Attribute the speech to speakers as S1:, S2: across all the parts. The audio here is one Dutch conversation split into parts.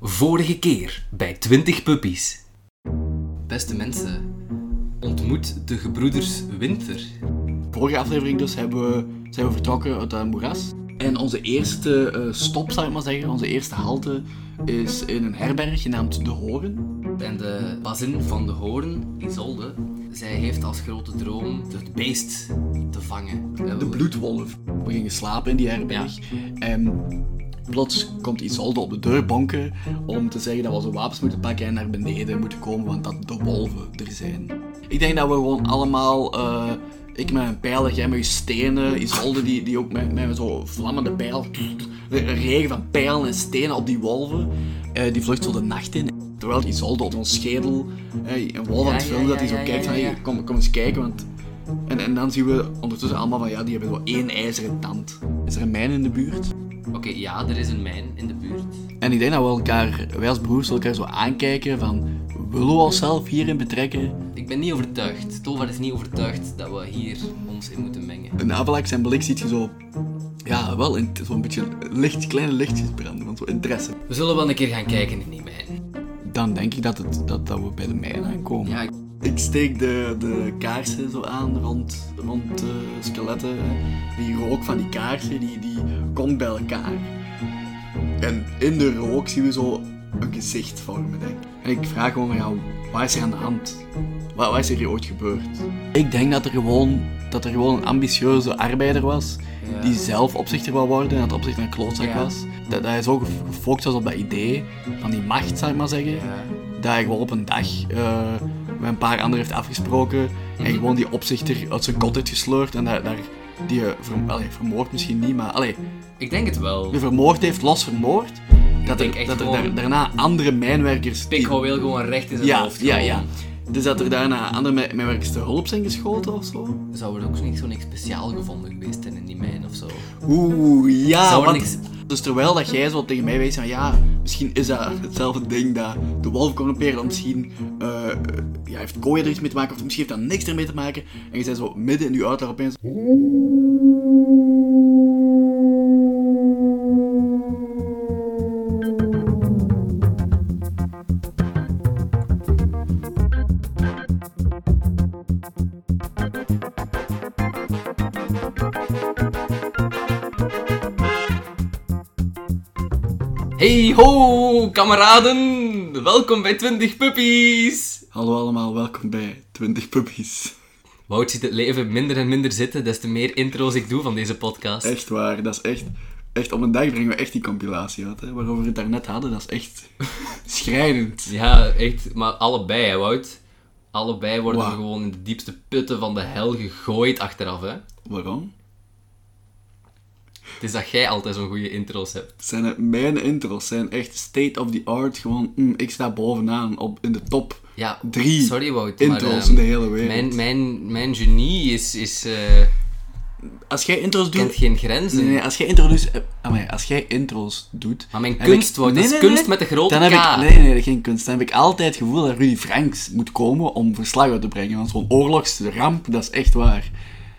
S1: vorige keer bij 20 Puppies. Beste mensen, ontmoet de gebroeders Winter.
S2: Vorige aflevering dus hebben we, zijn we vertrokken uit het moeras. En onze eerste eh, stop, zou ik maar zeggen, onze eerste halte is in een herberg genaamd De Horen.
S1: En de bazin van de Hoorn, Isolde, zij heeft als grote droom het beest te vangen. Eh, En
S2: De
S1: we-
S2: Bloedwolf. We gingen slapen in die herberg. En plots komt Isolde op de deur bonken om te zeggen dat we onze wapens moeten pakken en naar beneden moeten komen, want dat de wolven er zijn. Ik denk dat we gewoon allemaal... eh, ik met een pijl, jij met je stenen, Isolde die, die ook met, met zo'n vlammende pijl... Een regen van pijlen en stenen op die wolven. Eh, die vlucht zo de nacht in. Terwijl Isolde op ons schedel eh, een wolf aan het
S1: Ja,
S2: vullen,
S1: ja,
S2: dat hij
S1: ja,
S2: zo
S1: ja,
S2: kijkt
S1: ja,
S2: van,
S1: ja.
S2: "Hey, kom, kom eens kijken, want en, en dan zien we ondertussen allemaal van ja, die hebben wel één ijzeren tand. Is er een mijn in de buurt?
S1: Oké, ja, er is een mijn in de buurt.
S2: En ik denk dat we elkaar, wij als broers, elkaar zo aankijken van willen we onszelf hierin betrekken?
S1: Ik ben niet overtuigd. Tovar is niet overtuigd dat we hier ons in moeten mengen.
S2: In Avalak zijn blik ziet je zo, ja, wel in- zo'n beetje licht, kleine lichtjes branden, want zo interesse.
S1: We zullen wel een keer gaan kijken in die mijn.
S2: Dan denk ik dat, het, dat, dat we bij de mijn aankomen.
S1: Ja, ik-
S2: Ik steek de, de kaarsen zo aan rond, rond de skeletten. Die rook van die kaarsen die, die komt bij elkaar. En in de rook zien we zo een gezicht vormen, denk ik. En ik vraag gewoon van jou, wat is er aan de hand? Wat, wat is er hier ooit gebeurd? Ik denk dat er gewoon, dat er gewoon een ambitieuze arbeider was.
S1: Ja.
S2: Die zelf opzichter wou worden en dat opzicht een klootzak
S1: Ja.
S2: was. Dat, dat hij zo gef- gefocust was op dat idee van die macht, zou ik maar zeggen dat hij gewoon op een dag eh, met een paar anderen heeft afgesproken en gewoon die opzichter uit zijn kot heeft gesleurd en daar, daar die eh, ver- allee, vermoord misschien niet, maar allee,
S1: ik denk het wel.
S2: die vermoord heeft, los vermoord. Dat
S1: denk
S2: er,
S1: echt
S2: dat er
S1: gewoon-
S2: daar- daarna andere mijnwerkers... die-
S1: Ik wil gewoon recht in zijn
S2: ja,
S1: hoofd.
S2: ja,
S1: gewoon.
S2: ja. Dus dat er daarna andere mij- mijnwerkers te hulp zijn geschoten of zo.
S1: Zou er ook niet zo niks speciaal gevonden geweest zijn in die mijn of zo?
S2: Oeh, ja.
S1: Zou er
S2: want-
S1: niks-
S2: Dus terwijl dat jij zo tegen mij wijst van ja, misschien is dat hetzelfde ding dat de wolf corrumpeerde, of misschien eh, ja, heeft kooi er iets mee te maken, of misschien heeft dat niks ermee te maken. En je bent zo midden in je uitleg opeens.
S1: Hey ho, kameraden! Welkom bij 20 Puppies!
S2: Hallo allemaal, welkom bij 20 Puppies.
S1: Wout ziet het leven minder en minder zitten, des te meer intro's ik doe van deze podcast.
S2: Echt waar, dat is echt. Echt, op een dag brengen we echt die compilatie uit, hè, waarover we het daarnet hadden. Dat is echt schrijnend.
S1: Ja, echt, maar allebei, hè, Wout? Allebei worden we
S2: Wow.
S1: gewoon in de diepste putten van de hel gegooid achteraf, hè?
S2: Waarom?
S1: Het is dat jij altijd zo'n goede intro's hebt.
S2: Zijn het mijn intro's zijn echt state of the art. Gewoon, mm, ik sta bovenaan op, in de top.
S1: Ja,
S2: Drie
S1: sorry, Wout,
S2: intro's
S1: maar, ehm,
S2: in de hele wereld.
S1: Mijn, mijn, mijn genie is, is, eh,
S2: Als jij intro's doet,
S1: kent geen grenzen.
S2: Nee, nee, als jij intro's, eh, amai, als jij intro's doet...
S1: Maar mijn
S2: dan
S1: kunst,
S2: heb ik-
S1: Wout, dat is kunst met een grote
S2: dan heb
S1: K.
S2: Ik, nee, nee, dat is geen kunst. Dan heb ik altijd het gevoel dat Rudy Franks moet komen om verslag uit te brengen. Want zo'n oorlogsramp, dat is echt waar.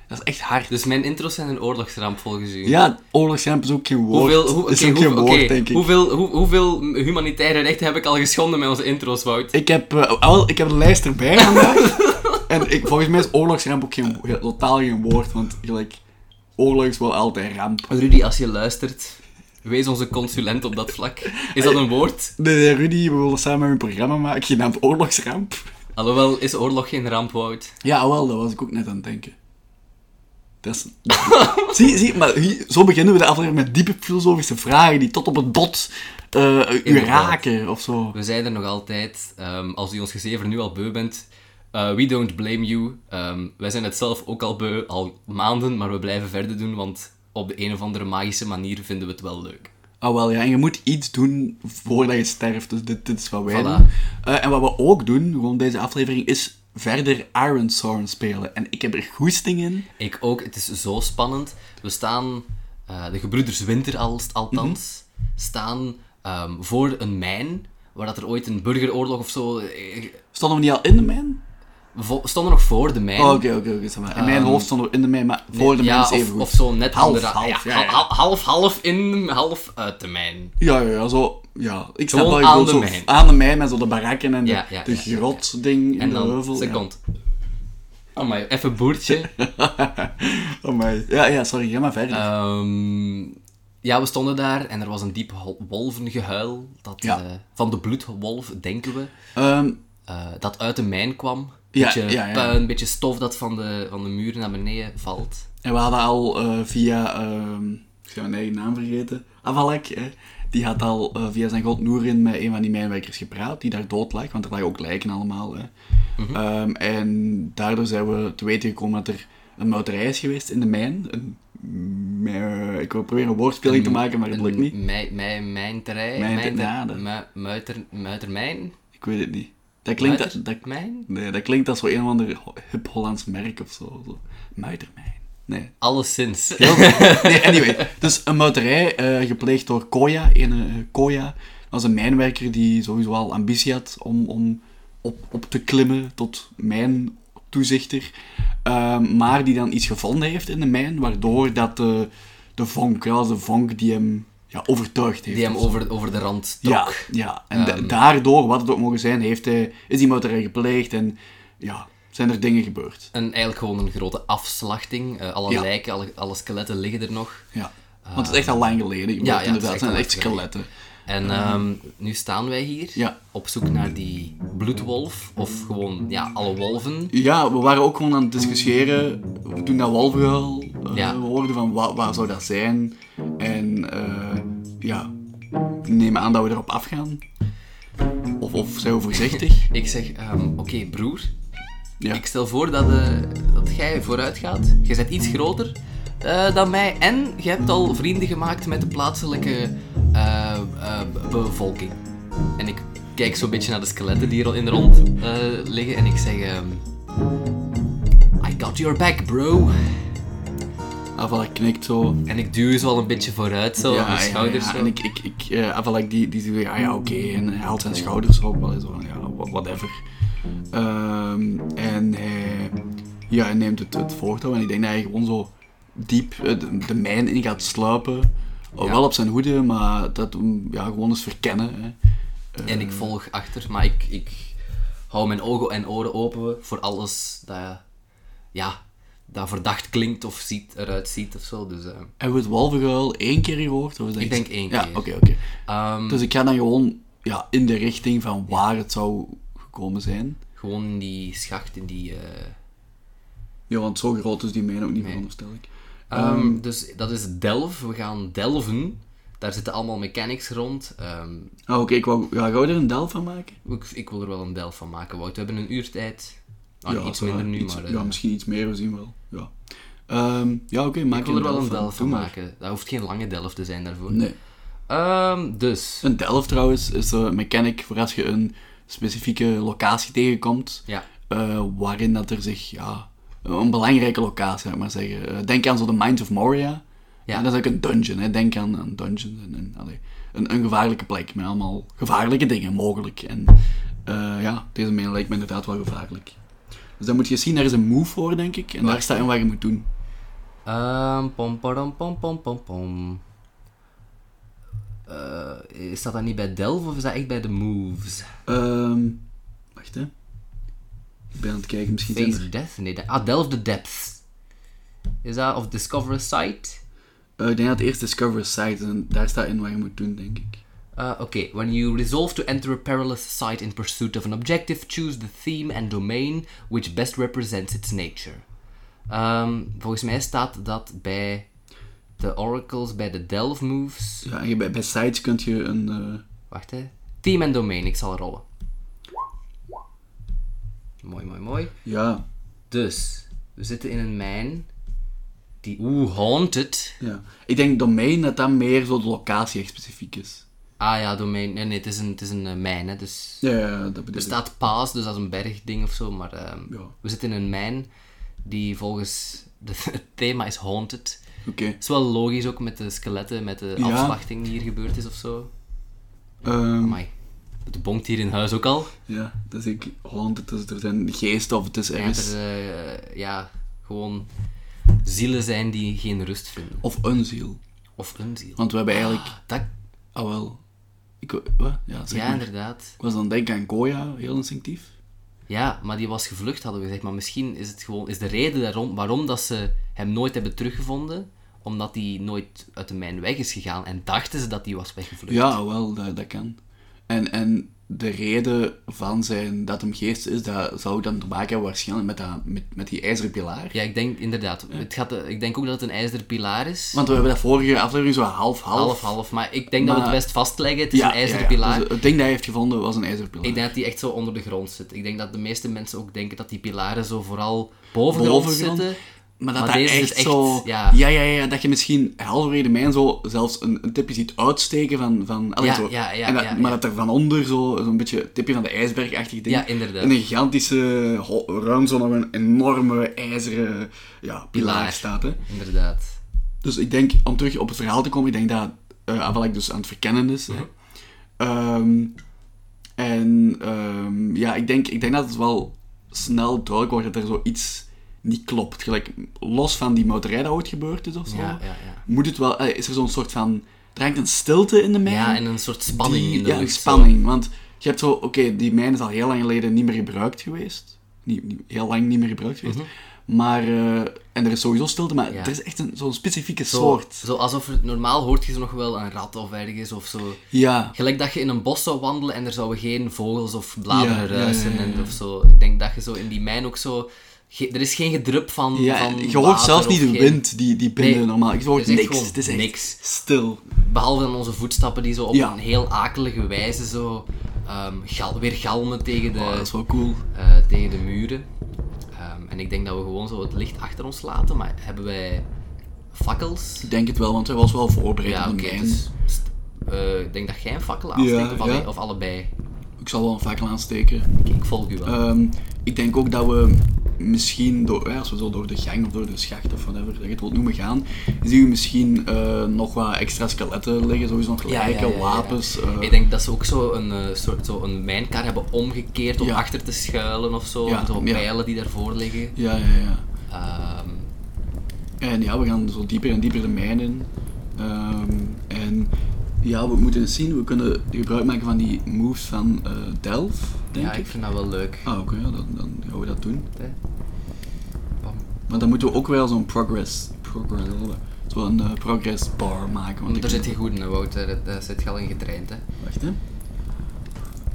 S2: Dat is echt hard.
S1: Dus mijn intro's zijn een oorlogsramp volgens u.
S2: Ja, oorlogsramp is ook geen woord.
S1: Hoeveel, hoe,
S2: is
S1: oké,
S2: ook geen
S1: hoeveel-
S2: woord,
S1: oké,
S2: denk ik.
S1: Hoeveel, hoe- hoeveel humanitaire rechten heb ik al geschonden met onze intro's, Wout?
S2: Ik heb, eh, wel, ik heb een lijst erbij vandaag. en ik, volgens mij is oorlogsramp ook geen, ja, totaal geen woord. Want gelijk, oorlog is wel altijd ramp.
S1: Rudy, als je luistert, wees onze consulent op dat vlak. Is dat een woord?
S2: Nee, nee, Rudy, we willen samen een programma maken genaamd Oorlogsramp.
S1: Alhoewel, is oorlog geen ramp, Wout?
S2: Ja, wel, dat was ik ook net aan het denken. Dat is... zie, zie, maar hier- zo beginnen we de aflevering met diepe filosofische vragen die tot op het bot eh u
S1: Inderdaad.
S2: raken of zo.
S1: We zeiden nog altijd, ehm, als u ons gezever nu al beu bent, eh, we don't blame you. Ehm, wij zijn het zelf ook al beu, al maanden, maar we blijven verder doen, want op de een of andere magische manier vinden we het wel leuk.
S2: Ah, wel ja, en je moet iets doen voordat je sterft, dus dit, dit is wat wij
S1: Voilà.
S2: doen. Eh, en wat we ook doen, gewoon deze aflevering, is verder Iron Sorn spelen. En ik heb er goesting in.
S1: Ik ook, het is zo spannend. We staan, eh, de gebroeders Winter al, althans,
S2: Mhm.
S1: staan ehm, voor een mijn, waar dat er ooit een burgeroorlog of zo... eh,
S2: Stonden we niet al in de mijn?
S1: vo- stonden nog voor de mijn.
S2: Oh, Oké, oké, oké. zeg maar. In mijn hoofd stonden we in de mijn, maar voor de mijn
S1: Ehm, ja,
S2: is even
S1: of,
S2: goed.
S1: of zo net
S2: Half,
S1: andere-
S2: half,
S1: ja,
S2: ja, ja.
S1: hal- half, half in, half uit de mijn.
S2: Ja, ja, ja, zo Ja, ik snap
S1: Gewoon
S2: dat je
S1: aan
S2: bedoelt,
S1: de
S2: zo
S1: mijn.
S2: aan de mijn met zo de barakken en de,
S1: Ja, ja,
S2: de
S1: ja, ja,
S2: grotding in
S1: En
S2: de
S1: dan,
S2: heuvel.
S1: second. Amai, even boertje.
S2: Ja. Amai. ja, ja, sorry, ga maar verder.
S1: Eh. Ehm, ja, we stonden daar en er was een diep hol- wolvengehuil. Dat,
S2: Ja.
S1: eh, van de bloedwolf, denken we.
S2: Ehm,
S1: eh, dat uit de mijn kwam.
S2: Ja,
S1: beetje
S2: ja, ja.
S1: puin, beetje stof dat van de, van de muren naar beneden valt.
S2: en we hadden al eh, via, ehm ik heb mijn eigen naam vergeten, Avalek, hè, die had al eh, via zijn god Noerin met een van die mijnwerkers gepraat, die daar dood lag, want er lagen ook lijken allemaal. Hè. Ehm, en daardoor zijn we te weten gekomen dat er een muiterij is geweest in de mijn. Een, mijn- ik wil proberen een woordspeling te maken, maar het lukt niet.
S1: Mij, mij, mijn terrein.
S2: Mijn
S1: mijn
S2: ter-
S1: ter- mu- muiter, muitermijn.
S2: Ik weet het niet. Dat klinkt, dat, dat,
S1: Muitermijn?
S2: nee, dat klinkt als zo een of ander hip-Hollands merk of zo. zo. Muitermijn. Nee,
S1: Alleszins.
S2: nee, anyway. Dus een muiterij eh, gepleegd door Koya. Een, eh, Koya dat was een mijnwerker die sowieso al ambitie had om, om op, op te klimmen tot mijntoezichter. Ehm, maar die dan iets gevonden heeft in de mijn, waardoor dat de, de vonk, ja, dat was de vonk die hem ja, overtuigd heeft.
S1: Die hem Ehm.
S2: of zo.
S1: over, over de rand trok.
S2: Ja, ja. en da- daardoor, wat het ook mogen zijn, heeft hij, is die muiterij gepleegd en ja, zijn er dingen gebeurd.
S1: Een, eigenlijk gewoon een grote afslachting. Eh, alle
S2: Ja.
S1: lijken, alle, alle skeletten liggen er nog.
S2: Ja. Want het is echt al lang geleden. gebeurd,
S1: ja, het is
S2: inderdaad,
S1: echt
S2: het zijn
S1: al
S2: echt
S1: lang geleden.
S2: skeletten.
S1: En ehm, nu staan wij hier
S2: Ja.
S1: op zoek naar die bloedwolf. Of gewoon ja, alle wolven.
S2: Ja, we waren ook gewoon aan het discussiëren toen dat walverhaal eh,
S1: Ja.
S2: we hoorden van waar, waar zou dat zijn. En eh ja, ik neem aan dat we erop afgaan. Of, of zijn we voorzichtig?
S1: Ik zeg, ehm, oké broer,
S2: Ja.
S1: ik stel voor dat, eh, dat jij vooruit gaat. Je bent iets groter eh, dan mij en je hebt al vrienden gemaakt met de plaatselijke eh, eh, bevolking. En ik kijk zo'n beetje naar de skeletten die er al in de rond eh, liggen en ik zeg... ehm, I got your back, bro.
S2: Avalak knikt zo.
S1: En ik duw zo al een beetje vooruit, zo, aan mijn schouders.
S2: ja.
S1: zo. Hmm.
S2: En ik, ik, ik eh, Avalak die, die zegt, ja, ja oké. En hij haalt zijn schouders op. wel Zo, ja, wha- whatever. Ehm, en hij, ja, hij neemt het, het voortouw. En ik denk dat hij gewoon zo diep eh, de, de mijn in gaat sluipen.
S1: Ja.
S2: Wel op zijn hoede, maar dat mm, ja, gewoon eens verkennen. Hè.
S1: En
S2: Mm.
S1: ik volg achter, maar ik, ik hou mijn ogen en oren open voor alles dat, ja, dat verdacht klinkt of ziet, eruit ziet of zo. Dus, eh,
S2: Hebben we het walverguil één keer gehoord? Of is dat
S1: Ik
S2: iets-
S1: denk één
S2: ja,
S1: keer.
S2: oké, oké.
S1: ehm,
S2: Dus ik ga dan gewoon ja, in de richting van waar het zou gekomen zijn.
S1: Gewoon in die schacht, in die... eh,
S2: Ja, want zo groot is die mijn ook niet, veronderstel ik.
S1: ehm, dus dat is Delf, we gaan delven. Daar zitten allemaal mechanics rond. Ehm,
S2: Ah, oké, ik wou... Ja, gaan we er een del van maken?
S1: ik, ik wil er wel een delf van maken, Wout. We hebben een uur tijd. Ah,
S2: ja,
S1: iets
S2: zo,
S1: minder nu,
S2: iets-
S1: maar... eh,
S2: ja, misschien iets meer, we zien wel. Ja, Ehm, ja oké, maak
S1: ik wil er wel een delf
S2: delf
S1: van
S2: Doe maar.
S1: maken. Dat hoeft geen lange delf te zijn daarvoor.
S2: Nee.
S1: Ehm, dus...
S2: Een delf trouwens is een mechanic voor als je een specifieke locatie tegenkomt,
S1: Ja.
S2: eh, waarin dat er zich, ja... Een belangrijke locatie, zou ik maar zeggen. Eh, Denk aan zo de Mines of Moria.
S1: Ja.
S2: Ja. Dat is ook een dungeon, hè. Denk aan, aan dungeons en... en allee, een, een gevaarlijke plek met allemaal gevaarlijke dingen mogelijk. En eh, ja, deze mijn lijkt me inderdaad wel gevaarlijk. Dus dan moet je zien, daar is een move voor, denk ik. En daar staat in wat je moet doen.
S1: Ehm pom, pom, pom, pom, pom, pom. Eh, is dat dan niet bij Delve of is dat echt bij de moves?
S2: Ehm, wacht, hè. Ik ben aan het kijken, misschien zijn er...
S1: Face Death? Nee, de- ah, Delve the Depths. Is dat, of Discover a Site?
S2: Eh, ik denk dat het eerst Discover Site is en daar staat in wat je moet doen, denk ik.
S1: Uh, okay, when you resolve to enter a perilous site in pursuit of an objective, choose the theme and domain which best represents its nature. Ehm, volgens mij staat dat bij de oracles, bij de delve moves.
S2: Ja, en je, bij, bij sites kun je een... eh,
S1: Wacht hè. Theme en domain, ik zal rollen. Mooi, mooi, mooi.
S2: ja,
S1: Dus, we zitten in een mijn. Die, oeh, haunted.
S2: ja. Ik denk domein dat dat meer zo de locatie echt specifiek is.
S1: Ah ja, domein. Nee, nee, het is een, het is een eh, mijn, hè, dus...
S2: Ja, ja, ja, dat bedoel
S1: Er
S2: ik.
S1: staat paas, dus dat is een bergding of zo, maar ehm,
S2: Ja.
S1: we zitten in een mijn die volgens de- het thema is haunted.
S2: Oké.
S1: Het is wel logisch ook met de skeletten, met de
S2: Ja.
S1: afslachting die hier gebeurd is of zo.
S2: Ehm,
S1: Amai, het bonkt hier in huis ook al.
S2: ja, dus ik... Holland, het is, er zijn geesten of het is
S1: Dat
S2: ergens...
S1: er eh, ja, gewoon zielen zijn die geen rust vinden. Ah,
S2: Of een ziel.
S1: Of een ziel.
S2: Want we hebben eigenlijk...
S1: Dat,
S2: Ah, wel. Ik Ik, wat? Ja, zeg
S1: Ja,
S2: maar.
S1: inderdaad.
S2: Ik was dan denken aan Goya, heel instinctief.
S1: Ja, maar die was gevlucht, hadden we gezegd. Maar misschien is het gewoon... Is de reden daarom, waarom dat ze hem nooit hebben teruggevonden... Omdat hij nooit uit de mijn weg is gegaan. En dachten ze dat hij was weggevlucht.
S2: Ja, ah, wel, dat, dat kan. En, en de reden van zijn dat hem geest is, dat zou dan te maken hebben waarschijnlijk met, dat, met, met die ijzeren pilaar.
S1: Ja, ik denk inderdaad. Het gaat, eh, ik denk ook dat het een ijzeren pilaar is.
S2: Want we hebben dat vorige aflevering zo half-half.
S1: half, half. Maar ik denk dat we
S2: Maar-
S1: het best vastleggen. Het is een ijzeren
S2: ja, ja.
S1: pilaar.
S2: Dus het ding dat hij heeft gevonden was een ijzeren pilaar.
S1: Ik denk dat die echt zo onder de grond zit. Ik denk dat de meeste mensen ook denken dat die pilaren zo vooral boven de grond
S2: Bovengrond.
S1: zitten.
S2: Maar dat
S1: Maar
S2: dat
S1: deze
S2: echt,
S1: is echt,
S2: zo...
S1: ja.
S2: Ja, ja, ja, dat je misschien halverwege mijn zo zelfs een, een tipje ziet uitsteken van... van allee,
S1: Ja,
S2: zo.
S1: ja, ja,
S2: En dat-
S1: ja,
S2: maar
S1: ja.
S2: dat er van onder zo zo'n beetje het tipje van de ijsbergachtig ding...
S1: Ja, inderdaad.
S2: Een gigantische ho- ruim zo nog een enorme ijzeren ja, pilaar,
S1: Pilaar.
S2: staat. Hè.
S1: Inderdaad.
S2: Dus ik denk, om terug op het verhaal te komen, ik denk dat eh Avalak dus aan het verkennen is. hè.
S1: Mhm.
S2: Ehm, en ehm, ja, ik denk, ik denk dat het wel snel duidelijk wordt dat er zoiets niet klopt. Gelijk, los van die motorij dat ooit gebeurd is of zo,
S1: Ja, ja, ja.
S2: moet het wel, eh, is er zo'n soort van... Er hangt een stilte in de mijn.
S1: Ja, en een soort spanning
S2: die-
S1: in de lucht.
S2: ja,
S1: eh.
S2: een
S1: zo.
S2: spanning. Want je hebt zo, oké, die mijn is al heel lang geleden niet meer gebruikt geweest. Niet, niet- heel lang niet meer gebruikt geweest. Maar, eh, en er is sowieso stilte, maar
S1: Mhm. Ja.
S2: er is echt een- zo'n specifieke
S1: Zo,
S2: soort.
S1: zo alsof er, normaal hoort je ze nog wel een rat of ergens of zo.
S2: Ja.
S1: Gelijk dat je in een bos zou wandelen en er zouden geen vogels of bladeren
S2: Ja, ja, ja,
S1: ruisen
S2: ja, ja.
S1: En, of zo. Ik denk dat je zo in die mijn ook zo. ge- er is geen gedrup van.
S2: ja
S1: van
S2: je hoort
S1: water
S2: zelfs
S1: of
S2: niet de
S1: geen-
S2: wind die, die binnen
S1: Nee,
S2: normaal. Je hoort
S1: het is echt
S2: niks.
S1: gewoon
S2: Het is echt
S1: niks.
S2: stil.
S1: Behalve dan onze voetstappen die zo op
S2: Ja.
S1: een heel akelige wijze zo ehm, gal, weer galmen tegen de,
S2: Oh, dat is wel cool.
S1: eh, tegen de muren. Ehm, en ik denk dat we gewoon zo het licht achter ons laten, maar hebben wij fakkels?
S2: Ik denk het wel, want hij was wel voorbereid
S1: Ja,
S2: op
S1: oké.
S2: een mijn.
S1: dus, st- eh, ik denk dat jij een fakkel aansteekt,
S2: Ja,
S1: of, alle-
S2: ja.
S1: of allebei.
S2: Ik zal wel een fakkel aansteken.
S1: Ik, ik volg u wel.
S2: Ehm, ik denk ook dat we misschien, door, ja, als we zo door de gang of door de schacht of whatever dat je het wilt noemen gaan, zien we misschien eh, nog wat extra skeletten liggen, sowieso nog
S1: Ja, ja,
S2: lijken,
S1: ja, ja, ja.
S2: wapens. eh,
S1: ik denk dat ze ook zo een, eh, soort zo een mijnkar hebben omgekeerd om
S2: Ja.
S1: achter te schuilen of zo.
S2: Ja,
S1: zo
S2: ja.
S1: pijlen die daarvoor liggen.
S2: ja, ja, ja.
S1: Ehm,
S2: En ja, we gaan zo dieper en dieper de mijn in. Ehm, en ja, we moeten eens zien, we kunnen gebruik maken van die moves van eh Delft, denk
S1: ja,
S2: ik.
S1: ik vind dat wel leuk.
S2: Ah, oké, ja, dan, dan gaan we dat doen.
S1: Hè? Bam.
S2: Maar dan moeten we ook wel zo'n progress, progress zo'n eh, progress bar maken. Want
S1: Want
S2: ik-
S1: daar zit je goed in, hè, Wout. Daar, daar zit je al in getraind. Hè.
S2: Wacht, hè.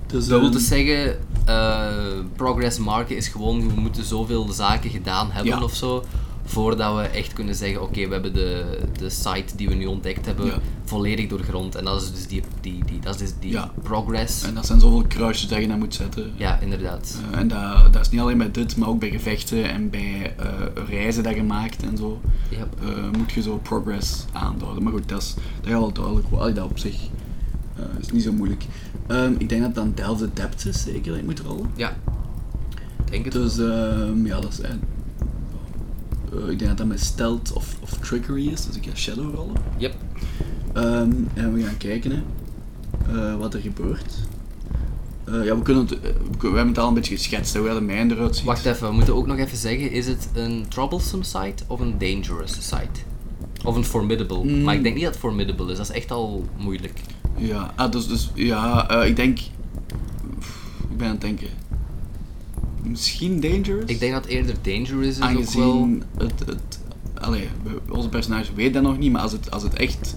S2: Dus,
S1: Dat wil
S2: ehm,
S1: dus zeggen, eh, progress marken is gewoon, we moeten zoveel zaken gedaan hebben
S2: Ja.
S1: of zo, voordat we echt kunnen zeggen, oké, we hebben de, de site die we nu ontdekt hebben
S2: Ja.
S1: volledig doorgrond. En dat is dus die, die, die, dat is dus die
S2: Ja.
S1: progress.
S2: En dat zijn zoveel kruisjes dat je naar moet zetten.
S1: Ja, inderdaad.
S2: Eh, en dat, dat is niet alleen bij dit, maar ook bij gevechten en bij eh, reizen dat je maakt en zo.
S1: Ja.
S2: eh, moet je zo progress aanduiden. Maar goed, dat is dat gaat wel duidelijk. worden. Allee, dat op zich eh, is niet zo moeilijk. Ehm, ik denk dat dan Delft de Depth is, zeker dat ik moet rollen.
S1: Ja. Ik Denk het.
S2: Dus ehm, ja, dat is. eh, eh, ik denk dat dat met stealth of, of trickery is, dus ik ga shadow rollen.
S1: Yep.
S2: Ehm, en we gaan kijken hè, eh, wat er gebeurt. Eh, ja, we, kunnen het, eh, we kun- we hebben het al een beetje geschetst, hè, hoe dat de mijn eruit ziet.
S1: Wacht even, we moeten ook nog even zeggen, is het een troublesome site of een dangerous site? Of een formidable?
S2: Hmm.
S1: Maar ik denk niet dat het formidable is, dat is echt al moeilijk.
S2: Ja, ah, dus, dus ja, eh, ik denk. Pff, Ik ben aan het denken. Misschien dangerous?
S1: Ik denk dat eerder dangerous is ook wel...
S2: Aangezien het. het allee, we- onze personage weet dat nog niet, maar als het, als het echt.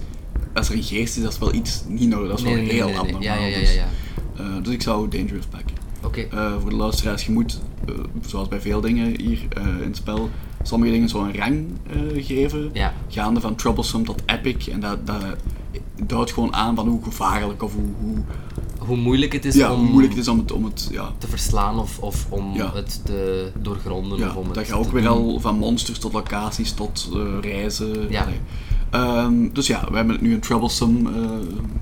S2: Als er een geest is, dat is wel iets niet nodig. Dat is wel heel
S1: nee,
S2: abnormaal.
S1: Ja, ja, ja. ja,
S2: Dus,
S1: ja.
S2: eh, dus ik zou dangerous pakken.
S1: Oké.
S2: Eh, voor de luisteraars, je moet, eh, zoals bij veel dingen hier eh, in het spel, sommige dingen zo'n rang eh, geven.
S1: Ja.
S2: Gaande van troublesome tot epic. En dat, dat duidt gewoon aan van hoe gevaarlijk of hoe, hoe,
S1: Hoe moeilijk het is
S2: ja,
S1: om
S2: hoe moeilijk het is om het... Om het ja.
S1: te verslaan of, of om
S2: Ja.
S1: het te doorgronden.
S2: Ja,
S1: of om
S2: dat
S1: het
S2: gaat ook
S1: te
S2: weer
S1: doen.
S2: al van monsters tot locaties tot eh, reizen.
S1: Ja.
S2: Allee. Ehm, dus ja, we hebben nu een troublesome... eh,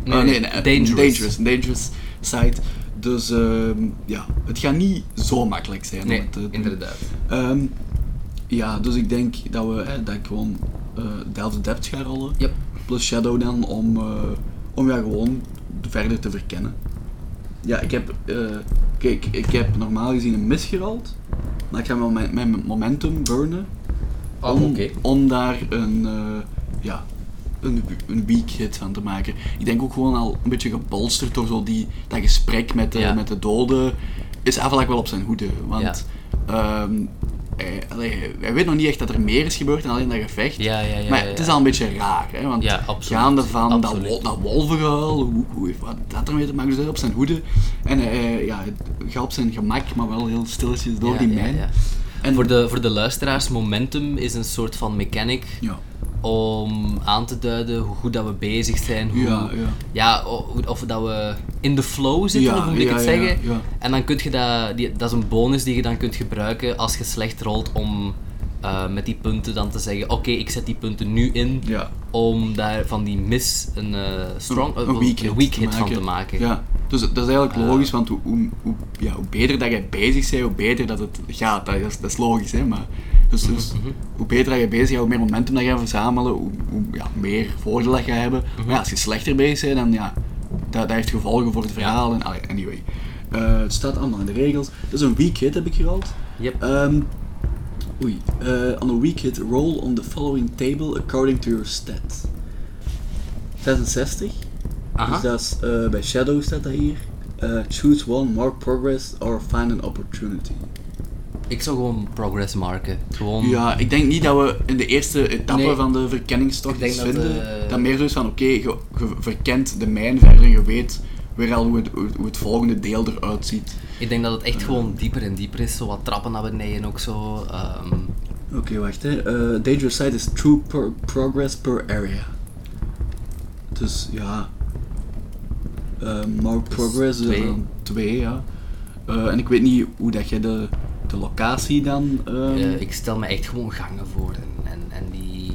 S1: Nee,
S2: eh,
S1: nee,
S2: eh,
S1: dangerous.
S2: dangerous. een dangerous site. Dus ehm, ja, het gaat niet zo makkelijk zijn
S1: Nee,
S2: om het te doen.
S1: inderdaad.
S2: Ehm, ja, dus ik denk dat we hè, dat ik gewoon eh Delft Depth ga rollen.
S1: Yep.
S2: Plus Shadow dan om, eh, om ja, gewoon verder te verkennen. Ja, ik heb, eh, kijk, ik heb normaal gezien een mis gerold. Maar ik ga mijn, mijn momentum burnen.
S1: Oh,
S2: om,
S1: oké.
S2: om daar een, eh, ja, een, een weak hit van te maken. Ik denk ook gewoon al een beetje gebolsterd door zo die, dat gesprek met de,
S1: Ja.
S2: met de doden. Is Avalak wel op zijn hoede. Want ehm, hij, allee, hij weet nog niet echt dat er meer is gebeurd dan alleen dat gevecht.
S1: Ja, ja, ja,
S2: maar
S1: ja,
S2: het
S1: ja.
S2: is al een beetje raar. Hè, want
S1: Ja, absoluut,
S2: gaande van dat,
S1: absoluut.
S2: wol- dat wolvengehuil, hoe, hoe heeft wat dat ermee te maken? Dus hij op zijn hoede. En hij, hij- ja, hij gaat op zijn gemak, maar wel heel stilletjes door
S1: Ja,
S2: die
S1: ja,
S2: mijn.
S1: ja.
S2: En-
S1: Voor, de, voor de luisteraars, momentum is een soort van mechanic
S2: Ja.
S1: om aan te duiden hoe goed dat we bezig zijn, hoe,
S2: Ja, ja.
S1: ja, o- hoe- of dat we in de flow zitten,
S2: Ja,
S1: of hoe moet ik
S2: ja,
S1: het
S2: ja,
S1: zeggen.
S2: ja.
S1: En dan kun je dat, die, dat is een bonus die je dan kunt gebruiken als je slecht rolt om eh, met die punten dan te zeggen, oké, ik zet die punten nu in
S2: Ja.
S1: om daar van die miss een eh, strong, eh,
S2: een weak hit,
S1: weak
S2: te
S1: hit van te maken. Eh,
S2: Ja. Dus dat is eigenlijk logisch, want hoe, hoe, hoe- ja, hoe beter dat jij bezig bent, hoe beter dat het gaat. Dat is, dat is logisch, hè. Maar, dus,
S1: Mhm,
S2: dus hoe beter dat je bezig bent, hoe meer momentum dat je gaat verzamelen, hoe, hoe ja, meer voordeel dat je gaat hebben.
S1: Mhm.
S2: Maar ja, als je slechter bezig bent, dan ja, dat, dat heeft gevolgen voor het verhaal. En, allee, anyway. Eh, het staat allemaal in de regels. Dus een weak hit heb ik gerold.
S1: Yep.
S2: Ehm, oei. Eh, on a weak hit, roll on the following table according to your stat. 66.
S1: Aha.
S2: Dus dat is, eh, bij Shadow staat dat hier. Eh, choose one, mark progress or find an opportunity.
S1: Ik zou gewoon progress marken. Gewoon
S2: Ja, ik denk niet dat we in de eerste etappe
S1: Nee.
S2: van de verkenningstocht
S1: Ik denk
S2: iets
S1: dat,
S2: vinden.
S1: eh,
S2: Dat meer zo is van, oké, je, je verkent de mijn verder en je weet weer al hoe het, hoe het- hoe het volgende deel eruit ziet.
S1: Ik denk dat het
S2: Eh.
S1: echt gewoon dieper en dieper is. Zo wat trappen naar beneden ook zo. ehm.
S2: Oké, wacht hè. Eh, dangerous side is true per- progress per area. Dus ja. Eh mark progress is
S1: Dus twee.
S2: dan twee, ja. Eh, en ik weet niet hoe dat je de, de locatie dan. ehm,
S1: Eh, ik stel me echt gewoon gangen voor. En, en, en die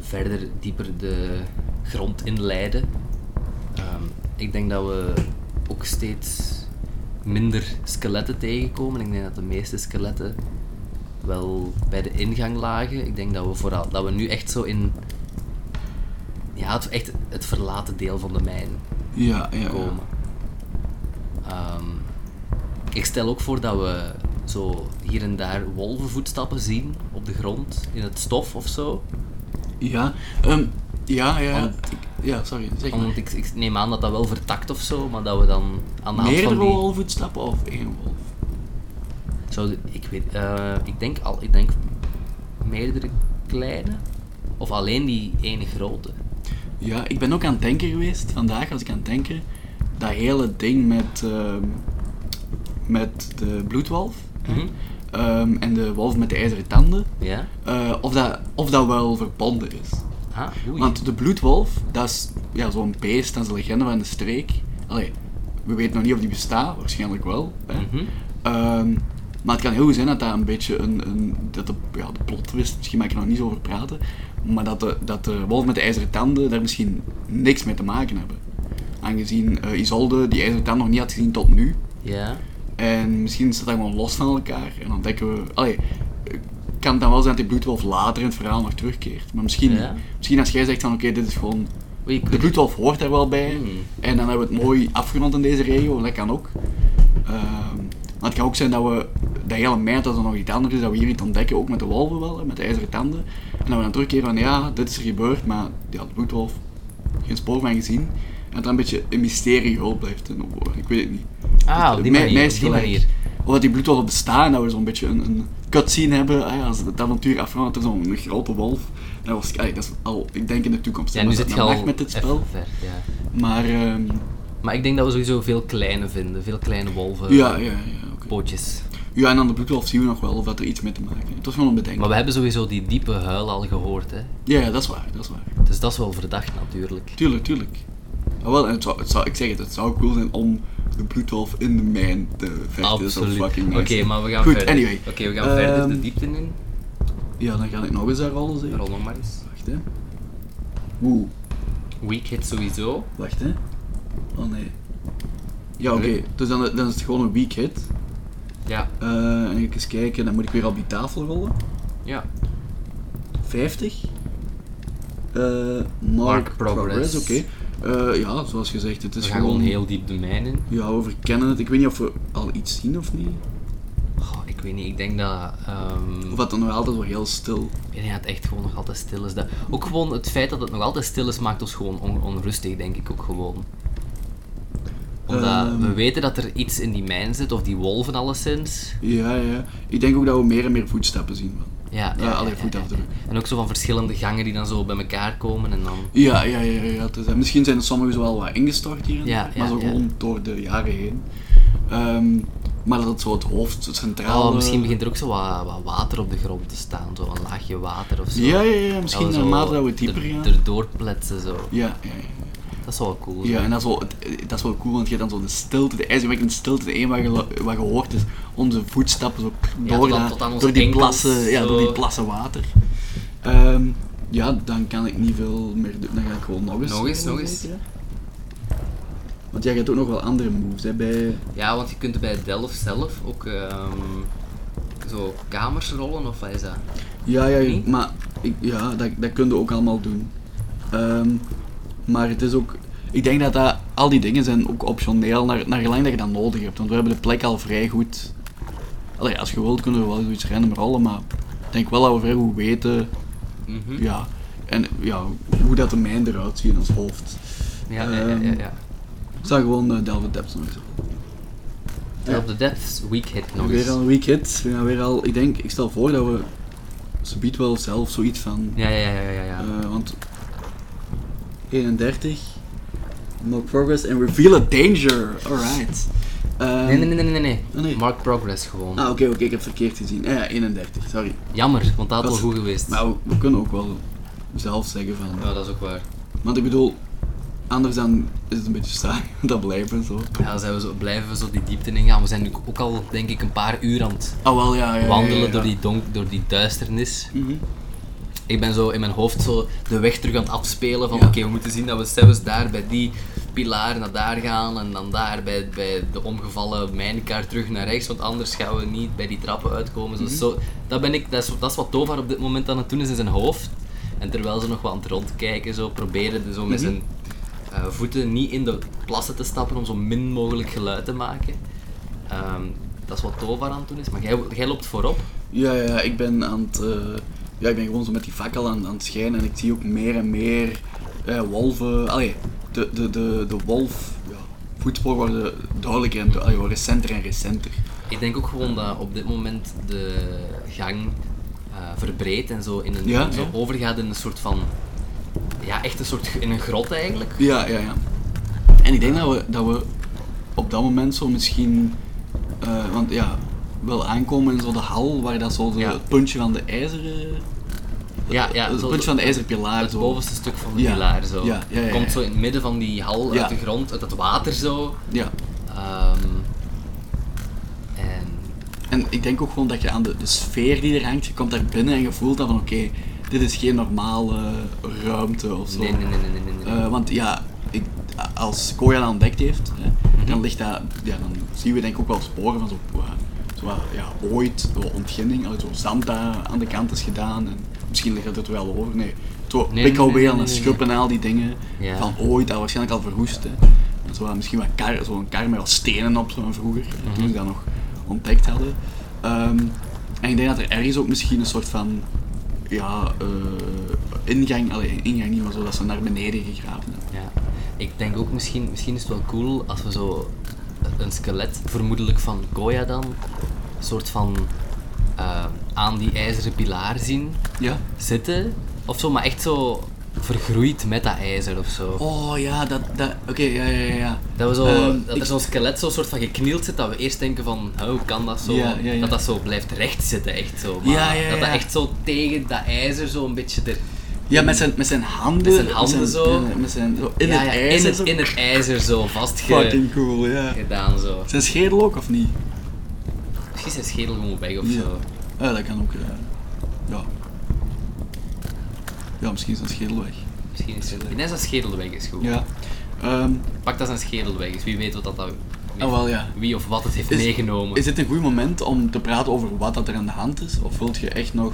S1: verder dieper de grond inleiden. Ehm, ik denk dat we ook steeds minder skeletten tegenkomen. Ik denk dat de meeste skeletten wel bij de ingang lagen. Ik denk dat we, vooral, dat we nu echt zo in ja, het, echt het verlaten deel van de mijn
S2: ja, ja, ja.
S1: komen. Ehm, ik stel ook voor dat we zo hier en daar wolvenvoetstappen zien op de grond, in het stof of zo.
S2: Ja, ehm, ja, ja.
S1: Om-
S2: ik- ja, sorry. Zeg maar.
S1: Omdat ik, ik neem aan dat dat wel vertakt of zo, maar dat we dan aan de hand
S2: Meerdere
S1: van die...
S2: wolvoetstappen of één wolf?
S1: Zou, ik, weet, eh, ik, denk al, ik denk meerdere kleine, of alleen die ene grote.
S2: Ja, ik ben ook aan het denken geweest. Vandaag was ik aan het denken. Dat hele ding met, ehm, met de bloedwolf. hè.
S1: Mhm.
S2: Ehm, en de wolf met de ijzeren tanden.
S1: Ja?
S2: eh, of, dat, of dat wel verbonden is.
S1: Ah, oei.
S2: Want de bloedwolf, dat is ja, zo'n beest, dat is een legende van de streek. Allee, we weten nog niet of die bestaat, waarschijnlijk wel. Hè?
S1: Mhm.
S2: Ehm, maar het kan heel goed zijn dat dat een beetje een... een dat de, ja, de plot twist, misschien mag ik er nog niet zo over praten. Maar dat de, dat de wolf met de ijzeren tanden daar misschien niks mee te maken hebben. Aangezien eh, Isolde die ijzeren tanden nog niet had gezien tot nu.
S1: Ja?
S2: En misschien staat dat gewoon los van elkaar. En dan denken we... Allee, eh, kan het dan wel zijn dat die bloedwolf later in het verhaal nog terugkeert. Maar misschien,
S1: Ja.
S2: misschien als jij zegt van oké, dit is gewoon...
S1: Oei, ik
S2: De bloedwolf hoort daar wel bij.
S1: Hmm.
S2: En dan hebben we het mooi afgerond in deze regio. Dat kan ook. Ehm, maar het kan ook zijn dat we dat hele meid, dat er nog iets anders is, dat we hier iets ontdekken, ook met de wolven wel, hè, met de ijzeren tanden. En dat we dan terugkeren van ja, dit is er gebeurd, maar ja, de bloedwolf, geen spoor van gezien. En dat dat een beetje een mysterie gehuld blijft. En, oh, ik weet het niet.
S1: Ah, op die
S2: Mij-
S1: manier,
S2: mij
S1: op
S2: is
S1: die
S2: geen werk.
S1: manier.
S2: Of dat Oh, die bloedwolven bestaan, dat we zo'n beetje een, een cutscene hebben. hè, als het avontuur afrondt, er zo'n grote wolf. Dat, was, allee, dat is al, ik denk in de toekomst. hè,
S1: Ja, nu
S2: maar
S1: zit
S2: dat
S1: je
S2: dat
S1: al
S2: mag met dit
S1: even
S2: spel.
S1: ver, ja.
S2: Maar ehm,
S1: Maar ik denk dat we sowieso veel kleine vinden, veel kleine wolven,
S2: ja, ja, ja.
S1: eh,
S2: oké.
S1: pootjes.
S2: Ja, en aan de bloedwolf zien we nog wel of dat er iets mee te maken heeft. Het was gewoon een bedenking.
S1: Maar we hebben sowieso die diepe huil al gehoord, hè.
S2: Ja, ja, dat is waar, dat is waar.
S1: Dus dat is wel verdacht natuurlijk.
S2: Tuurlijk, tuurlijk. Ah, wel, en het zou, het zou, ik zeg het, het zou cool zijn om de bloedwolf in de mijn te vechten. Dat zou
S1: Absoluut.
S2: fucking
S1: Oké,
S2: nice zijn.
S1: maar we gaan
S2: Goed,
S1: verder.
S2: anyway.
S1: Oké, we gaan verder de
S2: Ehm,
S1: diepte in.
S2: Ja, dan ga ik nog eens daar rollen, zeker?
S1: Rol nog maar eens.
S2: Wacht, hè. Oeh,
S1: Weak hit sowieso.
S2: wacht, hè. Oh, nee. Ja, oké.
S1: Nee.
S2: Dus dan, dan is het gewoon een weak hit.
S1: Ja.
S2: Eh, en ik eens kijken, dan moet ik weer op die tafel rollen.
S1: Ja.
S2: 50. Eh, mark,
S1: Mark
S2: progress,
S1: progress.
S2: oké. Eh, ja, zoals gezegd, het
S1: We
S2: is
S1: gaan
S2: Dus gewoon...
S1: gewoon heel diep de mijn in.
S2: Ja, we verkennen het. Ik weet niet of we al iets zien of niet.
S1: Goh, ik weet niet, ik denk dat... ehm,
S2: Of dat het nog altijd wel heel stil.
S1: Ik denk dat het echt gewoon nog altijd stil is. Dat, ook gewoon het feit dat het nog altijd stil is, maakt ons gewoon on- onrustig, denk ik ook gewoon. Omdat
S2: Ehm.
S1: we weten dat er iets in die mijn zit, of die wolven alleszins.
S2: Ja, ja. Ik denk ook dat we meer en meer voetstappen zien. man.
S1: Ja,
S2: Ja, allee, voetafdruk.
S1: En ook zo van verschillende gangen die dan zo bij elkaar komen en dan...
S2: Ja, ja, ja. ja, ja, het is- misschien zijn er sommigen zo wel wat ingestort hier en
S1: Ja,
S2: daar,
S1: ja,
S2: maar zo
S1: ja.
S2: gewoon door de jaren heen. Ehm, maar dat het zo het hoofd, het centrale...
S1: Oh, misschien begint er ook zo wat, wat water op de grond te staan, zo een laagje water of zo.
S2: Ja, ja, ja. Misschien
S1: zo
S2: naarmate dat we dieper
S1: er-
S2: gaan.
S1: Erdoor pletsen zo.
S2: Ja, ja, ja.
S1: Dat is wel cool.
S2: Ja, en dat is, wel, het- eh, dat is wel cool, want je hebt dan zo de stilte, de ijzerwekkende stilte, de een wat je, lo- wat je hoort is onze voetstappen zo k-
S1: Ja,
S2: door,
S1: tot aan-
S2: dat-
S1: tot aan onze
S2: door, die
S1: enkels,
S2: plassen, ja,
S1: zo.
S2: door die plassen water. Ehm, ja, dan kan ik niet veel meer doen, dan ga ik gewoon nog eens.
S1: Nog eens, nog eens.
S2: Ja. Want jij hebt ook nog wel andere moves, hè, bij...
S1: Ja, want je kunt bij Delft zelf ook ehm, zo kamers rollen, of wat is dat?
S2: Ja, ja,
S1: Nee?
S2: maar ik, ja, dat, dat kun je ook allemaal doen. Ehm, maar het is ook... Ik denk dat, dat al die dingen zijn ook optioneel, naar, naar gelang dat je dat nodig hebt. Want we hebben de plek al vrij goed... Allee, als je wilt kunnen we wel zoiets random rollen, maar ik denk wel dat we vrij goed weten...
S1: Mhm.
S2: Ja, en ja, hoe dat de mijn eruit ziet in ons hoofd. Ehm,
S1: Ja, ja, ja, ja, ja.
S2: Ik zou gewoon uh, Delve Depths nog eens rollen.
S1: Delve the Depths, Weak Hit nog eens.
S2: Weer al een week hit. We gaan weer al... Ik denk, ik stel voor dat we... Ze biedt wel zelf zoiets van...
S1: Ja, ja, ja, ja, ja. ja.
S2: Eh, want 31. Mark progress and reveal a danger. Alright. Ehm,
S1: nee, nee, nee, nee, nee,
S2: Oh,
S1: nee.
S2: nee.
S1: Mark Progress gewoon.
S2: Ah, oké, oké, ik heb het verkeerd gezien. Ah ja, 31, sorry.
S1: Jammer, want dat had wel
S2: Dat-
S1: goed geweest.
S2: Maar we, we kunnen ook wel zelf zeggen van.
S1: Ja, dat is ook waar.
S2: Want ik bedoel, anders dan is het een beetje saai. Dat blijft en zo.
S1: Ja, dan zijn we zo, blijven we zo die diepte in gaan. We zijn nu ook al, denk ik, een paar uur aan het
S2: Oh, wel ja. ja, ja, ja,
S1: wandelen
S2: ja.
S1: Door, die donk, door die duisternis.
S2: Mhm.
S1: Ik ben zo in mijn hoofd zo de weg terug aan het afspelen van
S2: Ja.
S1: oké, we moeten zien dat we zelfs daar bij die pilaar naar daar gaan en dan daar bij, bij de omgevallen mijnkaart terug naar rechts, want anders gaan we niet bij die trappen uitkomen. Dus zo, dat, ben ik, dat, is, dat is wat Tovar op dit moment aan het doen is in zijn hoofd. En terwijl ze nog wat aan het rondkijken, zo, proberen ze zo met zijn eh, voeten niet in de plassen te stappen om zo min mogelijk geluid te maken. Ehm, dat is wat Tovar aan het doen is, maar jij, jij loopt voorop.
S2: Ja, ja, ja, ik ben aan het. eh, ja, ik ben gewoon zo met die fakkel aan, aan het schijnen en ik zie ook meer en meer eh, wolven. Allee, de, de, de, de wolf. Ja, voetsporen worden duidelijker en du- allee, worden recenter en recenter.
S1: Ik denk ook gewoon dat op dit moment de gang eh, verbreedt en zo, in een,
S2: Ja,
S1: zo
S2: ja.
S1: overgaat in een soort van. Ja, echt een soort. in een grot eigenlijk.
S2: Ja, ja, ja. En ik denk dat we, dat we op dat moment zo misschien. eh, want ja, wel aankomen in zo de hal waar dat zo de,
S1: Ja.
S2: het puntje van de ijzeren.
S1: Ja, ja,
S2: het
S1: zo
S2: puntje
S1: de-
S2: van de ijzerpilaar.
S1: Het
S2: zo.
S1: bovenste stuk van de
S2: Ja.
S1: pilaar zo.
S2: Ja, ja, ja, ja.
S1: Komt zo in het midden van die hal
S2: Ja.
S1: uit de grond, uit het water zo.
S2: Ja.
S1: Ehm, en.
S2: En ik denk ook gewoon dat je aan de, de sfeer die er hangt, je komt daar binnen en je voelt dan van oké, dit is geen normale ruimte of zo.
S1: Nee, nee, nee, nee, nee. nee, nee.
S2: Eh, want ja, ik, als Koya dat ontdekt heeft, hè,
S1: Mhm.
S2: dan, ligt dat, ja, dan zien we denk ik ook wel sporen van zo, eh, zo wat, ja, ooit zo ontginning, allee, zo zand dat aan de kant is gedaan. En misschien ligt dat er wel over. Nee, zo
S1: nee,
S2: pikkelweel
S1: nee, nee, nee, nee.
S2: en schuppen en al die dingen
S1: Ja.
S2: van ooit, dat waarschijnlijk al verroest. Hè. En zo, wat- misschien wat kar, zo'n kar met wat stenen op, zo van vroeger,
S1: Mhm.
S2: toen ze dat nog ontdekt hadden. Ehm, en ik denk dat er ergens ook misschien een soort van ja, eh, ingang, allee, ingang niet, maar zo dat ze naar beneden gegraven hebben.
S1: Ja. Ik denk ook misschien, misschien is het wel cool als we zo een skelet, vermoedelijk van Goya dan, een soort van eh, aan die ijzeren pilaar zien
S2: Ja?
S1: zitten. Of zo, maar echt zo vergroeid met dat ijzer of zo.
S2: Oh ja, dat, dat oké, ja, ja, ja, ja.
S1: Dat, we zo,
S2: Ehm,
S1: dat
S2: ik-
S1: er zo'n skelet zo'n soort van geknield zit, dat we eerst denken van, "Hè, hoe kan dat zo?
S2: Ja, ja, ja.
S1: Dat dat zo blijft recht zitten, echt zo. Maar
S2: Ja, ja,
S1: dat dat
S2: ja.
S1: echt zo tegen dat ijzer zo een beetje er...
S2: Ja, met zijn, met zijn handen.
S1: Met zijn handen zo.
S2: ja, Met zijn, zo in
S1: Ja,
S2: het
S1: ja,
S2: ijs.
S1: in
S2: en
S1: het,
S2: zo.
S1: in het ijzer zo vastgedaan
S2: Fucking cool, ja.
S1: zo.
S2: Zijn schedel ook, of niet?
S1: Misschien is zijn schedel gewoon weg of
S2: Ja.
S1: zo.
S2: Ja, eh, dat kan ook, ja. Ja, ja misschien is zijn schedel weg.
S1: Misschien is het. Net zijn schedel weg is goed.
S2: Ja. Ehm,
S1: Pak dat zijn schedel weg is. Wie weet wat dat dan.
S2: ah, wel ja.
S1: Wie of wat het heeft
S2: Is-
S1: meegenomen.
S2: Is dit een goed moment om te praten over wat dat er aan de hand is? Of wilt je echt nog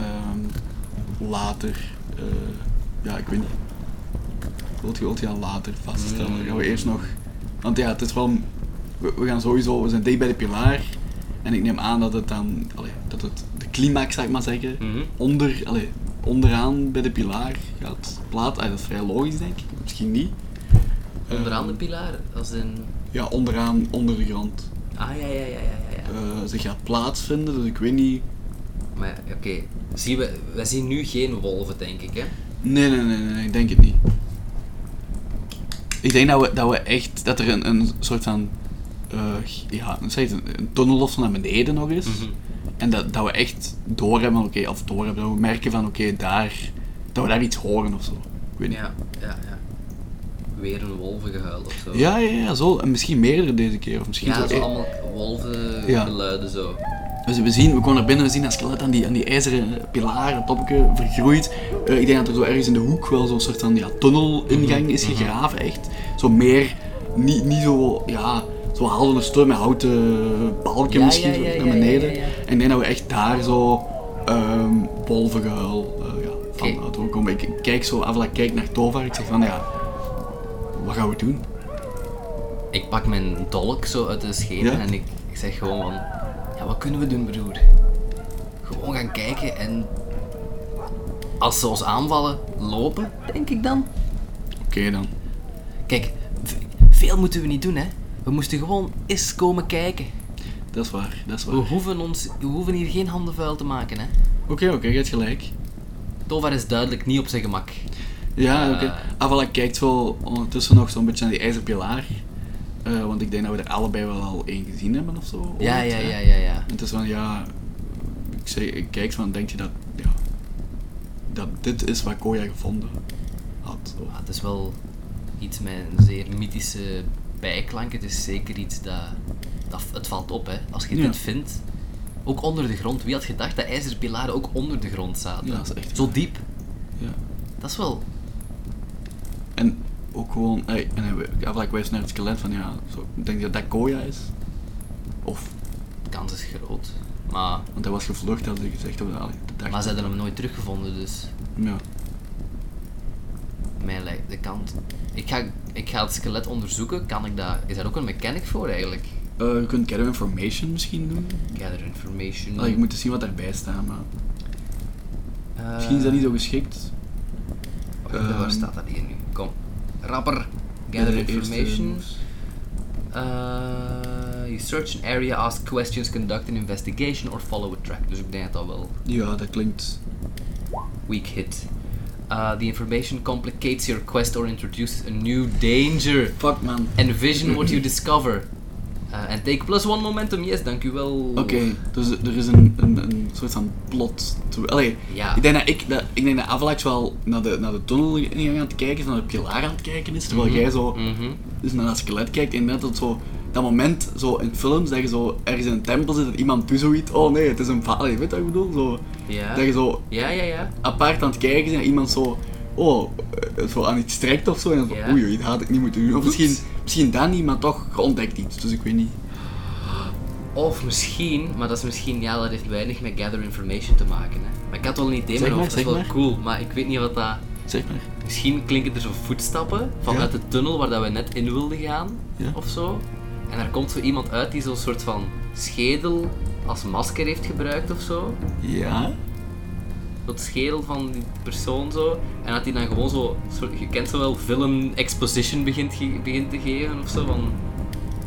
S2: ehm, later... eh, ja, ik weet niet. Wilt je, wilt je aan later vaststellen?
S1: Mm.
S2: Gaan we eerst nog... Want ja, het is wel... We, we gaan sowieso... We zijn dicht bij de pilaar. En ik neem aan dat het dan, allee, dat het de climax, zou ik maar zeggen,
S1: Mhm.
S2: onder, allee, onderaan bij de pilaar gaat plaatsen. Ah, dat is vrij logisch, denk ik. Misschien niet.
S1: Onderaan de pilaar, als in...
S2: Ja, onderaan, onder de grond.
S1: Ah, ja, ja, ja, ja, ja. ja.
S2: eh, ze gaat plaatsvinden, dus ik weet niet.
S1: Maar ja, oké, zien we... Wij zien nu geen wolven, denk ik, hè?
S2: Nee, nee, nee, nee, nee, ik denk het niet. Ik denk dat we, dat we echt, dat er een, een soort van, eh, ja, hoe zeg je het, een, een tunnel of zo naar beneden nog is. En dat, dat we echt doorhebben, oké, of doorhebben, dat we merken van, oké, daar, dat we daar iets horen of zo. Ik weet niet.
S1: Ja, ja, ja. Weer een wolvengehuil of zo.
S2: Ja, ja, ja, zo. En misschien meerdere deze keer. Of misschien
S1: Ja,
S2: zo.
S1: zo
S2: eh,
S1: allemaal
S2: Ja.
S1: wolvengeluiden zo.
S2: Dus we zien, we komen naar binnen, we zien dat skelet aan die, aan die ijzeren pilaren, topje, vergroeid. Eh, ik denk dat er zo ergens in de hoek wel zo'n soort van ja, tunnelingang is
S1: Mhm.
S2: gegraven, echt. Zo meer, niet, niet zo, ja, zo haalde een storm met houten balken
S1: Ja,
S2: misschien
S1: ja,
S2: zo
S1: ja, ja,
S2: naar beneden.
S1: ja, ja, ja.
S2: En ik denk dat we echt daar zo ehm wolvengehuil eh ja, van
S1: Oké.
S2: uit komen. Ik ik kijk zo, Avla kijkt naar Tovar, ik zeg van ja, wat gaan we doen?
S1: Ik pak mijn dolk zo uit de schenen
S2: Ja.
S1: en ik, ik zeg gewoon van... Ja, wat kunnen we doen, broer? Gewoon gaan kijken en... Als ze ons aanvallen, lopen, denk ik dan.
S2: Oké dan.
S1: Kijk, v- veel moeten we niet doen, hè. We moesten gewoon eens komen kijken.
S2: Dat is waar, dat is waar.
S1: We
S2: Oké,
S1: hoeven, ons, we hoeven hier geen handen vuil te maken, hè.
S2: oké, je hebt gelijk.
S1: Tovar is duidelijk niet op zijn gemak.
S2: Ja,
S1: Eh.
S2: oké. Ah, Afval kijkt wel ondertussen nog zo'n beetje naar die ijzerpilaar. Eh, want ik denk dat we er allebei wel al één gezien hebben of zo.
S1: Ja,
S2: ooit,
S1: ja,
S2: hè.
S1: ja, ja, ja.
S2: En het is van, ja... Ik, zeg, ik kijk van, denk je dat... Ja, dat dit is wat Koya gevonden had. Of-
S1: Ah, het is wel iets met een zeer mythische bijklank. Het is zeker iets dat... dat het valt op, hè. Als je
S2: Ja.
S1: dit vindt... Ook onder de grond. Wie had gedacht dat ijzerpilaren ook onder de grond zaten?
S2: Ja, dat is echt-
S1: Zo diep.
S2: Ja.
S1: Dat is wel...
S2: En ook gewoon... eh, en hij we- Avalak wijst naar het skelet van, ja... Zo, denk je dat dat Koya is? Of...
S1: De kans is groot. Maar...
S2: Want hij was gevlucht, hadden ze gezegd. Of, allee, dat dacht
S1: Maar ze
S2: ik.
S1: hebben hem nooit teruggevonden, dus...
S2: Ja.
S1: Mij lijkt de kant... Ik ga, ik ga het skelet onderzoeken. Kan ik dat... Is daar ook een mechanic voor, eigenlijk?
S2: Eh, je kunt Gather Information misschien doen.
S1: Gather information.
S2: Allee, Ah, ik moet eens zien wat daarbij staat, maar...
S1: Eh,
S2: Misschien is dat niet zo geschikt.
S1: wacht even,
S2: Ehm.
S1: waar staat dat hier nu? Kom. Rapper.
S2: Ja,
S1: Gather
S2: de eerste
S1: information.
S2: moves.
S1: Eh, you search an area, ask questions, conduct an investigation or follow a track. Dus ik denk dat dat wel
S2: Ja, dat klinkt.
S1: weak hit. Eh, the information complicates your quest or introduces a new danger.
S2: Fuck man.
S1: Envision what you discover. Eh, and take plus one momentum. Yes, dank u wel. Mhm.
S2: Oké, dus er is een, een, een soort van plot. te- Allee,
S1: Ja.
S2: ik denk dat ik, dat, ik denk dat Avalax wel naar de, naar de tunnel aan het kijken is, naar de pilaar aan het kijken is, terwijl jij zo
S1: Mhm.
S2: dus naar dat skelet kijkt en net dat zo. Dat moment zo in films dat je zo ergens in een tempel zit en iemand doet zoiets. Oh nee, het is een vader. Weet je wat ik bedoel? Zo,
S1: Ja.
S2: Dat je zo
S1: Ja, ja, ja.
S2: apart aan het kijken bent en iemand zo. Oh, eh, zo aan iets trekt of zo. En dan
S1: Ja.
S2: van, oei, oei, dat had ik niet moeten doen. Of
S1: Oeps.
S2: misschien, misschien dat niet, maar toch je ontdekt iets. Dus ik weet niet.
S1: Of misschien, maar dat is misschien, ja, dat heeft weinig met gather information te maken. Hè. Maar ik had wel een idee in
S2: Zeg
S1: mijn
S2: maar,
S1: hoofd, dat is wel
S2: zeg maar.
S1: cool. Maar ik weet niet wat dat...
S2: Zeg maar.
S1: Misschien klinken er zo voetstappen vanuit
S2: Ja.
S1: de tunnel waar dat we net in wilden gaan,
S2: Ja.
S1: of zo. En daar komt zo iemand uit die zo'n soort van schedel als masker heeft gebruikt of zo.
S2: Ja?
S1: Dat schedel van die persoon zo. En dat hij dan gewoon zo, soort- je kent zo wel, villain exposition begint, ge- begint te geven of zo. Van.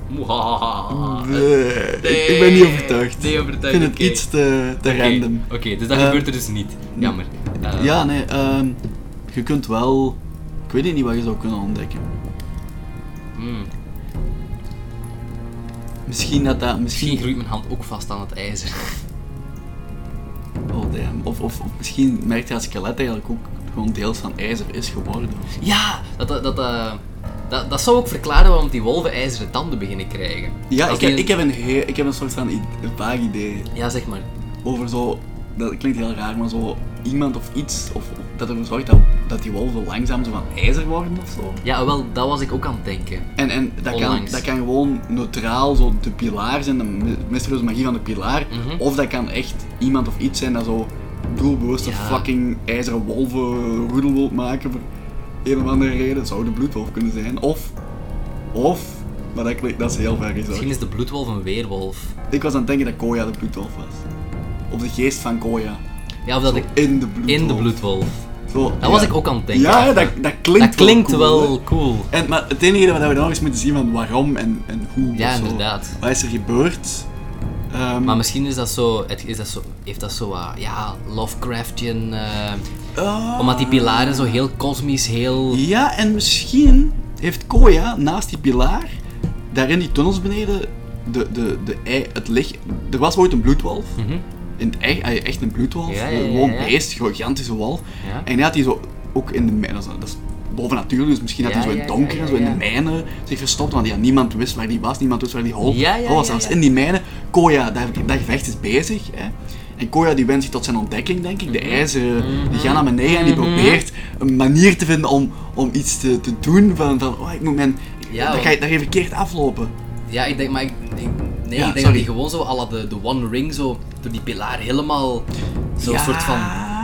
S1: Mwahaha.
S2: Oh, ik, ik ben niet overtuigd.
S1: Ah, Nee,
S2: ik
S1: overtuigd.
S2: vind het
S1: oké.
S2: iets te, te
S1: Oké,
S2: random.
S1: Oké, dus dat
S2: Eh,
S1: gebeurt er dus niet. Jammer. Eh,
S2: Ja, nee, ehm, je kunt wel. Ik weet niet wat je zou kunnen ontdekken.
S1: mm.
S2: Misschien dat dat.
S1: Misschien
S2: Misschien.
S1: groeit mijn hand ook vast aan het ijzer.
S2: Oh, damn. Of, of, of misschien merkt je dat skelet eigenlijk ook gewoon deels van ijzer is geworden. of zo.
S1: Ja, dat, dat, dat, eh, dat, dat zou ook verklaren waarom die wolven ijzeren tanden beginnen krijgen.
S2: Ja,
S1: Als
S2: ik,
S1: die
S2: heb-
S1: een-
S2: ik, heb een heel, ik heb een soort van i- een vaag idee.
S1: Ja, zeg maar.
S2: over zo, dat klinkt heel raar, maar zo iemand of iets, of dat ervoor zorgt dat, dat die wolven langzaam zo van ijzer worden of zo.
S1: Ja, wel, dat was ik ook aan het denken.
S2: En, en dat, kan,
S1: Onlangs.
S2: dat kan gewoon neutraal zo de pilaar zijn, de my- mysterieuze magie van de pilaar,
S1: Mhm.
S2: of dat kan echt iemand of iets zijn dat zo doelbewuste
S1: Ja.
S2: fucking ijzeren wolven roedel wil maken voor een of andere reden. Het zou de bloedwolf kunnen zijn, of, of Maar dat, klinkt- dat is heel ver gezocht.
S1: Misschien is de bloedwolf een weerwolf.
S2: Ik was aan het denken dat Koya de bloedwolf was. Of de geest van Koya.
S1: Ja, of dat ik...
S2: In de bloedwolf.
S1: In de bloedwolf.
S2: Zo,
S1: Dat was ik ook aan het denken.
S2: Ja, dat, dat klinkt
S1: Dat klinkt
S2: wel cool,
S1: wel cool.
S2: hè. En, maar het enige wat we nog eens moeten zien van waarom en, en hoe.
S1: Ja,
S2: of zo.
S1: inderdaad.
S2: Wat is er gebeurd? Ehm,
S1: Maar misschien is dat zo, het- is dat zo, heeft dat zo wat, ja, Lovecraftian, eh,
S2: ah.
S1: omdat die pilaren zo heel kosmisch, heel...
S2: Ja, en misschien heeft Koya naast die pilaar, daar in die tunnels beneden, de, de, de, ei- het licht. Er was ooit een bloedwolf. In het echt, ah, echt een bloedwolf.
S1: Mhm. Ja, ja,
S2: een
S1: ja,
S2: gewoon
S1: ja.
S2: beest, een gigantische wolf.
S1: Ja.
S2: En die had hij zo ook in de mijn- Dat is, dat is bovennatuurlijk, dus misschien had
S1: Ja,
S2: hij zo in
S1: ja,
S2: het donker,
S1: ja, ja,
S2: zo in
S1: ja.
S2: de mijnen zich verstopt. Want ja, niemand wist waar die was, niemand wist waar die hol
S1: Ja, ja,
S2: hol was.
S1: ja,
S2: zelfs
S1: ja.
S2: in die mijnen. Koya, daar, dat gevecht is bezig. Hè. En Koya die wendt zich tot zijn ontdekking, denk ik. De
S1: Mhm.
S2: ijzeren, die gaan naar beneden en die probeert een manier te vinden om, om iets te, te doen. Van, van oh, ik moet mijn...
S1: Ja,
S2: dat,
S1: want-
S2: ga je, dat ga je verkeerd aflopen.
S1: Ja, ik denk, maar ik, ik- nee,
S2: Ja,
S1: ik denk dat
S2: sorry.
S1: die gewoon zo, à la de, de One Ring, zo, door die pilaar helemaal, zo'n
S2: Ja,
S1: soort van,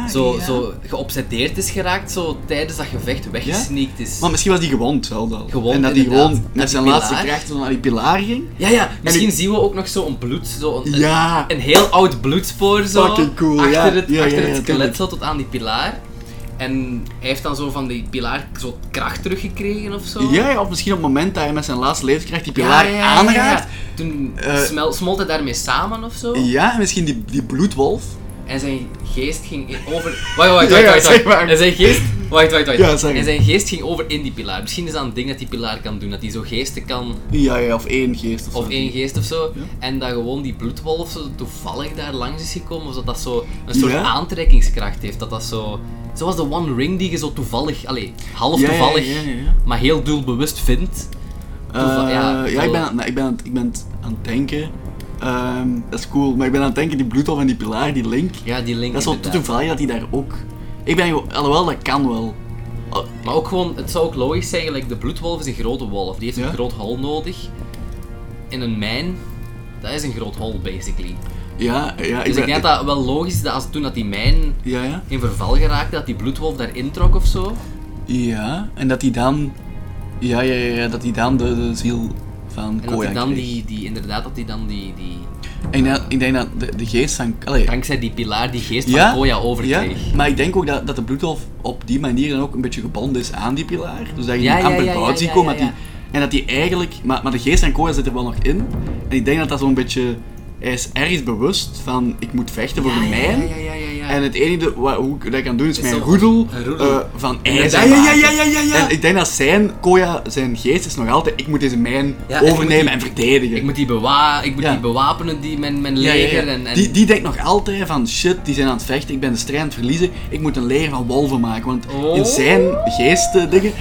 S1: zo,
S2: ja.
S1: zo geobsedeerd is geraakt, zo tijdens dat gevecht weggesneakt is.
S2: Maar misschien was die gewond wel dan.
S1: Gewond,
S2: en dat hij
S1: inderdaad.
S2: gewoon met
S1: Naar die
S2: zijn
S1: pilaar.
S2: laatste krachten naar die pilaar ging.
S1: Ja, ja, misschien
S2: ik-
S1: zien we ook nog zo'n bloed, zo een,
S2: Ja.
S1: een heel oud bloedspoor zo.
S2: Fucking cool,
S1: achter
S2: ja.
S1: het,
S2: Ja, ja,
S1: achter
S2: ja,
S1: het
S2: tuurlijk.
S1: skelet zo tot aan die pilaar. En hij heeft dan zo van die pilaar zo kracht teruggekregen of zo.
S2: Ja, ja, of misschien op het moment dat hij met zijn laatste levenskracht die
S1: Ja,
S2: pilaar
S1: ja, ja, ja.
S2: aanraakt.
S1: Toen
S2: Eh,
S1: smel- smolt hij daarmee samen of zo.
S2: Ja. en misschien die, die bloedwolf.
S1: En zijn geest ging in- over. Wacht, wacht, wacht,
S2: Ja, ja,
S1: wacht, wacht.
S2: zeg maar.
S1: En zijn geest. Wacht, wacht, wacht.
S2: Ja, zeg maar.
S1: en zijn geest ging over in die pilaar. Misschien is dat een ding dat die pilaar kan doen, dat hij zo geesten kan.
S2: Ja, ja, of één geest of,
S1: Of
S2: zo.
S1: één geest of zo.
S2: Ja.
S1: En dat gewoon die bloedwolf zo toevallig daar langs is gekomen. Zodat dat zo een soort
S2: Ja.
S1: aantrekkingskracht heeft. Dat dat zo. Zoals de One Ring die je zo toevallig, allee, half
S2: Ja, ja,
S1: toevallig,
S2: ja, ja, ja.
S1: maar heel doelbewust vindt.
S2: Eh,
S1: Toeval- ja,
S2: ja, ik,
S1: zo-
S2: ben, aan- ik, ben, aan het- ik ben het aan het denken. Ehm, dat is cool, maar ik ben aan het denken, die bloedwolf en die pilaar, die link.
S1: Ja, die link.
S2: dat is wel
S1: inderdaad.
S2: toevallig dat hij daar ook... Ik ben gewoon... Alhoewel, dat kan wel. Oh, Al-
S1: Maar ook gewoon, het zou ook logisch zijn, like, de bloedwolf is een grote wolf. Die heeft
S2: Ja.
S1: een groot hol nodig. In een mijn, dat is een groot hol, basically.
S2: Ja, ja, ik
S1: Dus ik
S2: ben...
S1: denk dat dat wel logisch is dat als toen dat die mijn
S2: Ja, ja.
S1: in verval geraakte, dat die bloedwolf daarin trok of zo.
S2: Ja, en dat hij dan... Ja, ja, ja, ja, dat hij dan de, de ziel van
S1: En dat
S2: Koya
S1: die dan
S2: kreeg.
S1: die, die, inderdaad, dat die dan die, die,
S2: Ik denk, dat- ik denk dat de, de geest van... Allee,
S1: dankzij die pilaar die geest
S2: ja,
S1: van Koya overkreeg.
S2: Ja, maar ik denk ook dat, dat de bloedhof op die manier dan ook een beetje gebonden is aan die pilaar. Dus dat je
S1: Ja,
S2: die
S1: ja,
S2: amper
S1: ja, ja,
S2: buiten ziet
S1: ja,
S2: komen.
S1: ja,
S2: dat
S1: ja.
S2: die- en dat die eigenlijk... Maar, maar de geest van Koya zit er wel nog in. En ik denk dat dat zo'n beetje... Hij is ergens bewust van, ik moet vechten voor
S1: Ja,
S2: een
S1: ja,
S2: mijn.
S1: ja, ja, ja, ja.
S2: En het enige wat, hoe ik dat kan doen is,
S1: Is
S2: mijn
S1: zo'n-
S2: roedel,
S1: een roedel.
S2: eh, van
S1: En
S2: ijzer
S1: dat- ja, ja,
S2: maken.
S1: ja, ja, ja, ja.
S2: En ik denk dat zijn, Koya, zijn geest is nog altijd, ik moet deze mijn
S1: Ja, en ik
S2: overnemen en,
S1: moet die-
S2: verdedigen.
S1: Ik moet, die, bewa ik moet
S2: Ja.
S1: die bewapenen, die mijn, mijn
S2: Ja, ja, ja.
S1: leger. En, en...
S2: Die, die denkt nog altijd van shit, die zijn aan het vechten, ik ben de strijd aan het verliezen, ik moet een leger van wolven maken. Want
S1: Oh.
S2: in zijn geesten dingen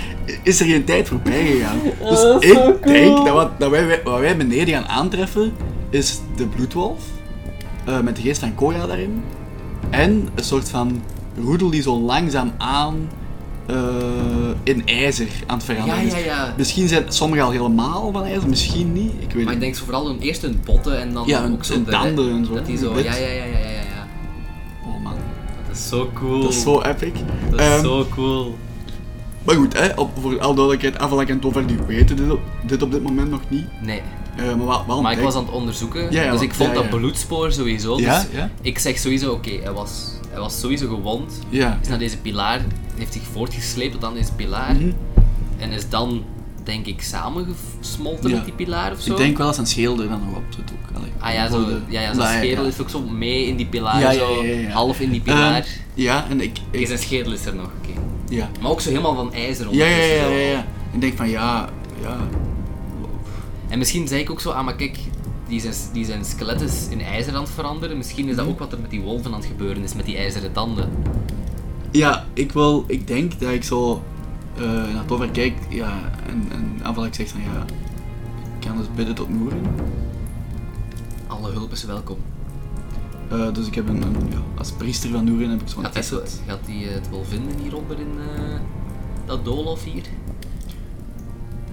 S2: is er geen tijd voorbij gegaan. Dus
S1: dat is
S2: ik
S1: Oh, zo cool.
S2: denk dat, wat, dat wij- wij, wat wij beneden gaan aantreffen is de bloedwolf, eh, met de geest van Koya daarin, en een soort van roedel die zo langzaam aan eh, in ijzer aan het veranderen
S1: Ja, ja,
S2: is.
S1: ja.
S2: Misschien zijn sommigen al helemaal van ijzer, misschien niet, ik weet
S1: Maar
S2: het
S1: ik
S2: niet.
S1: denk zo vooral hun, eerst hun botten en dan
S2: Ja, hun-
S1: ook zo
S2: hun
S1: de-
S2: tanden en zo,
S1: Dat die
S2: hun
S1: zo,
S2: bit.
S1: ja, ja, ja, ja, ja, ja, ja.
S2: Oh man,
S1: Dat is zo cool.
S2: dat is zo epic.
S1: Dat is
S2: Ehm,
S1: zo cool.
S2: Maar goed, hè, op, voor alle duidelijkheid, Avalanche en Verdiep weten dit op, dit op dit moment nog niet.
S1: Nee.
S2: Eh, maar wel, wel een
S1: Maar ik
S2: plek.
S1: was aan het onderzoeken,
S2: Ja, ja,
S1: dus
S2: want-
S1: ik vond
S2: ja,
S1: dat
S2: ja.
S1: bloedspoor sowieso.
S2: Ja,
S1: dus
S2: ja.
S1: ik zeg sowieso, oké, hij, was, hij was sowieso gewond.
S2: Ja.
S1: Is naar deze pilaar, heeft zich voortgesleept tot aan deze pilaar.
S2: Mhm.
S1: En is dan, denk ik, samengesmolten
S2: Ja.
S1: met die pilaar of zo.
S2: Ik denk wel dat zijn schilder dan nog op zit ook. Allee,
S1: Ah ja, zo,
S2: voor de-
S1: ja, ja,
S2: Nou,
S1: zijn schedel is ook zo mee in die pilaar,
S2: Ja, ja,
S1: zo
S2: ja, ja, ja.
S1: half in die pilaar.
S2: Ehm, ja, en ik...
S1: Oké,
S2: ik
S1: zijn schedel is er nog, oké.
S2: ja.
S1: Maar ook zo helemaal van ijzer
S2: Ja, ja,
S1: ondertussen,
S2: ja, ja,
S1: zo.
S2: ja, ja. Ik denk van, ja, ja.
S1: En misschien zei ik ook zo, ah maar kijk, die zijn, die zijn skelet is in ijzer aan het veranderen. Misschien is dat
S2: Mhm.
S1: ook wat er met die wolven aan het gebeuren is, met die ijzeren tanden.
S2: Ja, ik wil... Ik denk dat ik zo eh naar het over kijk, ja, en, en Avalanche zegt van, ja, ik kan dus bidden tot Noeren.
S1: Alle hulp is welkom.
S2: Eh, dus ik heb een, een- ja, als priester van Noeren heb ik zo'n
S1: Gaat die, zo-
S2: asset.
S1: gaat die eh, het wel vinden hieronder in eh, dat doolhof hier?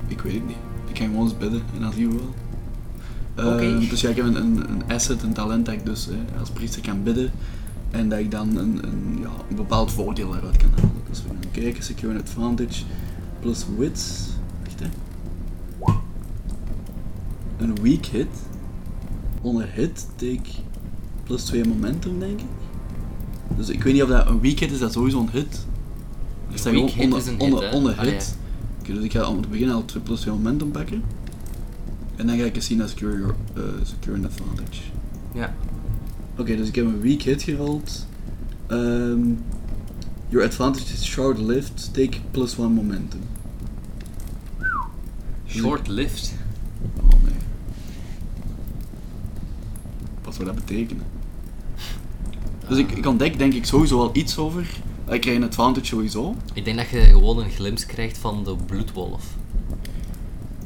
S2: Ik weet het niet. Ik ga gewoon eens bidden en dan zien we wel. Eh,
S1: Oké.
S2: Dus ja, ik heb een, een, een asset, een talent dat ik dus eh, als priester kan bidden. En dat ik dan een, een, ja, een bepaald voordeel daaruit kan halen. Dus we gaan kijken, secure an advantage plus wits. Wacht hè. Een weak hit. Onder hit take plus 2 momentum, denk ik. Dus ik weet niet of dat een weak hit is, dat is sowieso een hit. Ik zeg
S1: weak
S2: gewoon
S1: hit
S2: onder,
S1: is een hit,
S2: onder,
S1: hè?
S2: onder
S1: Allee.
S2: hit. Oké, dus ik ga om te beginnen al 2 plus 2 momentum pakken. En dan ga ik eens zien naar secure, your- eh, secure an advantage.
S1: Ja.
S2: Oké, dus ik heb een weak hit gerold. Ehm, your advantage is short-lived, take plus 1 momentum.
S1: Short-lived.
S2: Oh nee. Wat zou dat betekenen?
S1: Ah.
S2: Dus ik, ik ontdek denk ik sowieso wel iets over. Ik krijg een advantage sowieso.
S1: Ik denk dat je gewoon een glimp krijgt van de bloedwolf.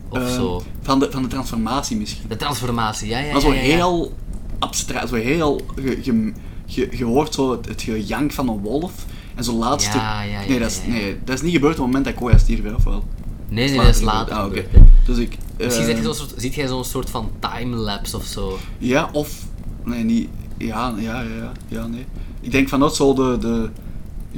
S1: Of
S2: Ehm,
S1: zo.
S2: Van de, van de transformatie misschien.
S1: De transformatie, ja, ja.
S2: Maar
S1: ja,
S2: zo
S1: ja, ja.
S2: heel abstract, zo heel... Je, je, je, je hoort zo het, het gejank van een wolf. En zo'n laatste...
S1: Ja, ja, ja,
S2: nee, dat is,
S1: ja, ja.
S2: nee, dat is niet gebeurd op het moment dat Koya stierf, of wel?
S1: Nee, nee, dat is later.
S2: Ah, oké.
S1: gebeurd.
S2: Dus ik...
S1: Misschien zit
S2: ehm,
S1: je zo'n soort- ziet jij zo'n soort van timelapse of zo.
S2: Ja, of... Nee, niet... Ja, ja, ja, ja, ja, nee. Ik denk vanuit zo de... de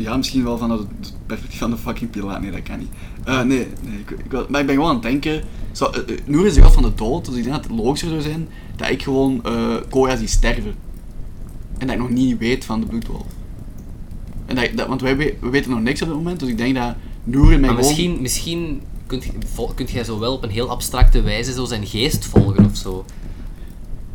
S2: ja, misschien wel vanuit het perspectief van de fucking pilaat. Nee, dat kan niet. Eh, nee, nee. Ik, ik, wou- maar ik ben gewoon aan het denken... Zo, eh, eh, Noor is de god van de dood, dus ik denk dat het logischer zou zijn dat ik gewoon eh Koya zie sterven. En dat ik nog niet weet van de bloedwolf. En dat, dat, want wij we, we weten nog niks op dit moment, dus ik denk dat Noor en mij
S1: Maar
S2: gewoon...
S1: misschien, misschien kunt, je- vol- kunt jij zo wel op een heel abstracte wijze zo zijn geest volgen of zo.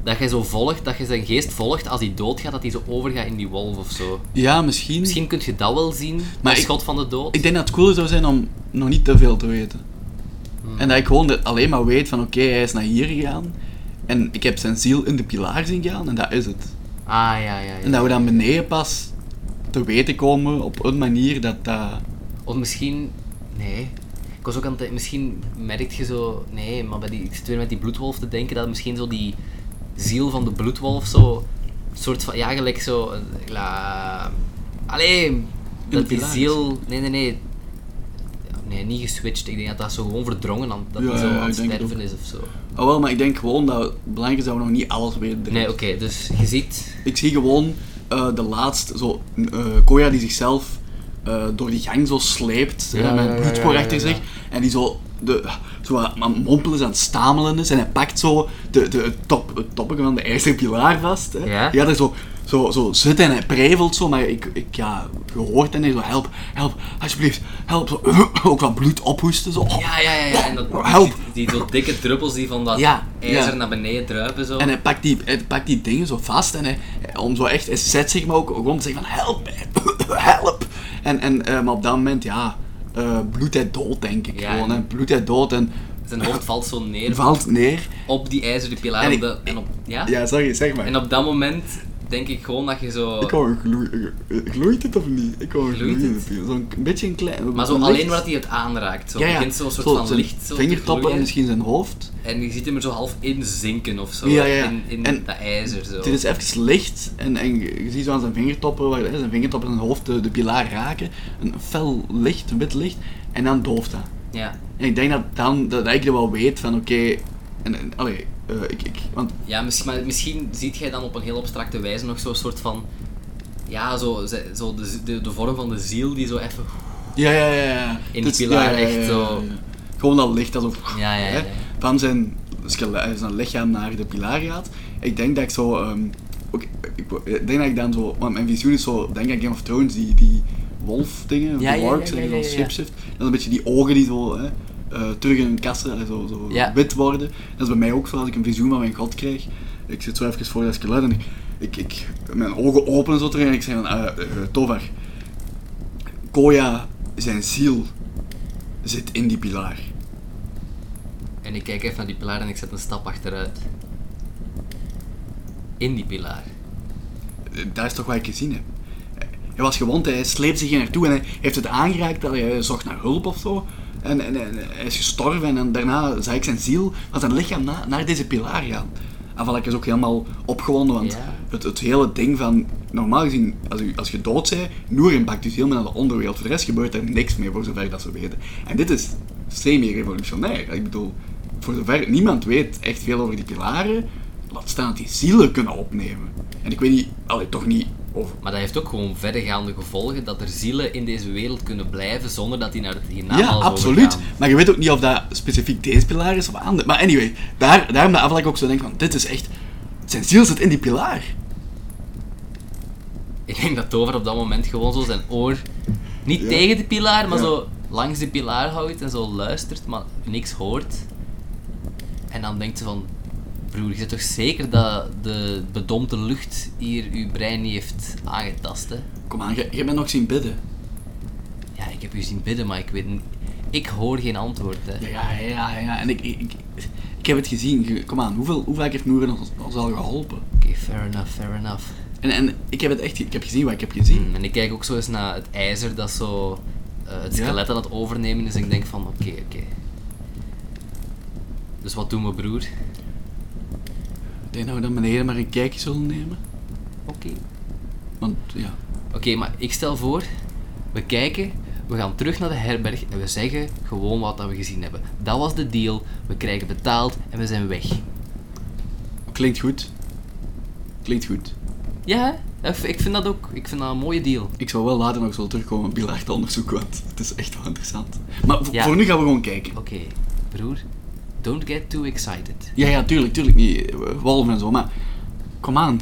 S1: Dat jij zo volgt, dat je zijn geest volgt als hij doodgaat, dat hij zo overgaat in die wolf of zo.
S2: Ja, misschien.
S1: Misschien kunt je dat wel zien, maar
S2: Maar
S1: als
S2: ik-
S1: schot van de dood.
S2: Ik denk dat het cooler zou zijn om nog niet te veel te weten.
S1: Hmm.
S2: En dat ik gewoon de- alleen maar weet van oké, hij is naar hier gegaan. En ik heb zijn ziel in de pilaar zien gaan en dat is het.
S1: Ah, ja, ja, ja.
S2: En dat we dan beneden pas te weten komen op een manier dat dat...
S1: Of misschien... Nee. Ik was ook aan het... Misschien merkt je zo... Nee, maar bij die, ik zit weer met die bloedwolf te denken dat misschien zo die ziel van de bloedwolf zo... soort van... Ja, gelijk zo... eh, La, allee!
S2: de
S1: Dat die
S2: pilaar is.
S1: ziel... Nee, nee, nee. Ja, Nee, niet geswitcht. Ik denk dat dat zo gewoon verdrongen aan, dat
S2: Ja,
S1: die zo
S2: ja,
S1: aan
S2: ik
S1: het
S2: denk het
S1: sterven is of zo.
S2: Oh wel, maar ik denk gewoon dat het belangrijk is dat we nog niet alles weten. direct.
S1: Nee, oké. dus je ziet...
S2: Ik zie gewoon eh, de laatste, zo, eh Koya die zichzelf eh, door die gang zo sleept,
S1: Ja,
S2: eh, met
S1: ja,
S2: een
S1: ja,
S2: bloedspoor
S1: ja,
S2: achter
S1: ja,
S2: zich, en die zo, de, zo aan aan het mompelen is, aan het stamelen is, en hij pakt zo de, de, het, top, het toppetje van de ijzeren pilaar vast. Hè.
S1: Ja?
S2: dat is zo, zo, zo zit en hij prevelt zo, maar ik, ik ja, gehoord en hij zo, help, help, alsjeblieft, help, zo, ook wat bloed ophoesten, zo.
S1: Ja, ja, ja, ja. En dat,
S2: Oh, Help.
S1: Die, die zo dikke druppels die van dat
S2: Ja,
S1: ijzer
S2: ja.
S1: naar beneden druipen zo.
S2: En hij pakt, die, hij pakt die dingen zo vast en hij, hij- om zo echt, hij zet zich maar ook gewoon te zeggen van help, mij, help. En, en eh, maar op dat moment, ja, eh bloedt hij dood denk ik
S1: Ja,
S2: gewoon.
S1: en-
S2: Hè. Bloedt hij dood en
S1: Zijn hoofd valt zo neer.
S2: valt neer.
S1: op die ijzeren pilaar.
S2: En
S1: En,
S2: ik-
S1: de, en, op, ja?
S2: Ja, sorry, zeg maar.
S1: Ah. en op dat moment denk ik gewoon dat je zo.
S2: Ik hoor een gloe- eh, gloeit het of niet? Ik hoor een
S1: Gloeit
S2: gloeit het. Zo'n k- beetje een klein...
S1: maar zo
S2: een
S1: alleen
S2: licht-
S1: wat hij het aanraakt. Zo
S2: Ja, ja.
S1: begint zo'n soort
S2: Zo,
S1: van
S2: zijn
S1: licht. Zo te
S2: vingertoppen en
S1: gloeien.
S2: misschien zijn hoofd.
S1: En je ziet hem er zo half in zinken of zo.
S2: Ja, ja, ja.
S1: In, in
S2: En
S1: dat ijzer. Zo.
S2: Dit is even licht en, en je je ziet zo aan zijn vingertoppen, waar, hè, zijn vingertoppen en zijn hoofd de, de pilaar raken. Een fel licht, een wit licht, en dan dooft dat.
S1: Ja.
S2: En ik denk dat, dan, dat ik er wel weet van oké, en, en allee, eh, ik, ik, want
S1: Ja, misschien, maar misschien ziet jij dan op een heel abstracte wijze nog zo'n soort van. Ja, zo, ze- zo de, z- de, de vorm van de ziel die zo even.
S2: ja, ja, ja, ja.
S1: die
S2: Dit is-
S1: pilaar echt zo.
S2: Gewoon dat licht alsof
S1: Ja, ja, ja,
S2: hè,
S1: ja.
S2: van zijn, skele- eh, zijn lichaam naar de pilaar gaat. Ik denk dat ik zo, ehm, ook, ik, wo- ik denk dat ik dan zo, want mijn visioen is zo, denk ik Game of Thrones, die, die wolf dingen,
S1: Ja,
S2: de
S1: ja,
S2: wargs,
S1: ja,
S2: en
S1: ja,
S2: die
S1: ja,
S2: zo'n
S1: ja.
S2: shapeshift. Dan een beetje die ogen die zo hè, eh, terug in hun kassen eh, zo, zo
S1: Ja.
S2: wit worden. Dat is bij mij ook zo, als ik een visioen van mijn god krijg. Ik zit zo even voor dat skelet en ik, ik, ik, mijn ogen openen zo terug en ik zeg van, eh, eh, Tovar, Koya, zijn ziel zit in die pilaar.
S1: En ik kijk even naar die pilaar en ik zet een stap achteruit. In die pilaar.
S2: Eh, Dat is toch wat ik gezien heb. Eh, Hij was gewond, hij sleept zich hier naartoe en hij heeft het aangeraakt dat hij eh, zocht naar hulp of zo. En, en, en hij is gestorven en, dan daarna zag ik zijn ziel van zijn lichaam na- naar deze pilaar gaan. En voilà, ik is ook helemaal opgewonden, want
S1: Ja.
S2: het, het hele ding van... Normaal gezien, als, u, als je dood bent, Noeren pakt dus helemaal naar de onderwereld. Voor de rest gebeurt er niks meer, voor zover dat ze weten. En dit is semi-revolutionair. Ik bedoel, voor zover niemand weet echt veel over die pilaren, laat staan dat die zielen kunnen opnemen. En ik weet niet, allee, toch niet
S1: Of, maar dat heeft ook gewoon verregaande gevolgen dat er zielen in deze wereld kunnen blijven zonder dat die naar het
S2: Ja,
S1: hiernaam
S2: absoluut. Maar je weet ook niet of dat specifiek deze pilaar is of andere. Maar anyway, daar, daarom dat Avalak ook zo denkt van, dit is echt... Zijn ziel zit in die pilaar.
S1: Ik denk dat Tover op dat moment gewoon zo zijn oor niet
S2: Ja.
S1: tegen de pilaar, maar
S2: Ja.
S1: zo langs de pilaar houdt en zo luistert, maar niks hoort. En dan denkt ze van, broer, je zit toch zeker dat de bedompte lucht hier uw brein niet heeft aangetast, hè?
S2: Kom aan, je, je bent nog zien bidden.
S1: Ja, ik heb u zien bidden, maar ik weet niet... Ik hoor geen antwoord, hè.
S2: Ja, ja, ja, ja. En ik, ik, ik, ik heb het gezien. Je- Kom aan, hoeveel, hoe vaak heeft Noeren ons, ons al geholpen?
S1: Oké, fair enough, fair enough.
S2: En, en ik heb het echt ge- ik heb gezien wat ik heb gezien.
S1: Mm, En ik kijk ook zo eens naar het ijzer dat zo eh, het
S2: Ja.
S1: skelet aan het overnemen is. En ik denk van, oké, oké. Dus wat doen we, broer?
S2: Ik denk dat we dan beneden maar een kijkje zullen nemen.
S1: Oké.
S2: Want ja,
S1: Oké, maar ik stel voor, we kijken, we gaan terug naar de herberg en we zeggen gewoon wat dat we gezien hebben. Dat was de deal, we krijgen betaald en we zijn weg.
S2: klinkt goed. Klinkt goed.
S1: Ja, hè? ik v- ik vind dat ook. Ik vind dat een mooie deal.
S2: Ik zou wel later nog zo terugkomen om Pilaar te onderzoeken, want het is echt wel interessant. Maar voor-
S1: Ja.
S2: voor nu gaan we gewoon kijken.
S1: Oké, broer, don't get too excited.
S2: Ja, ja, tuurlijk, tuurlijk niet. eh, Walven en zo, maar kom aan.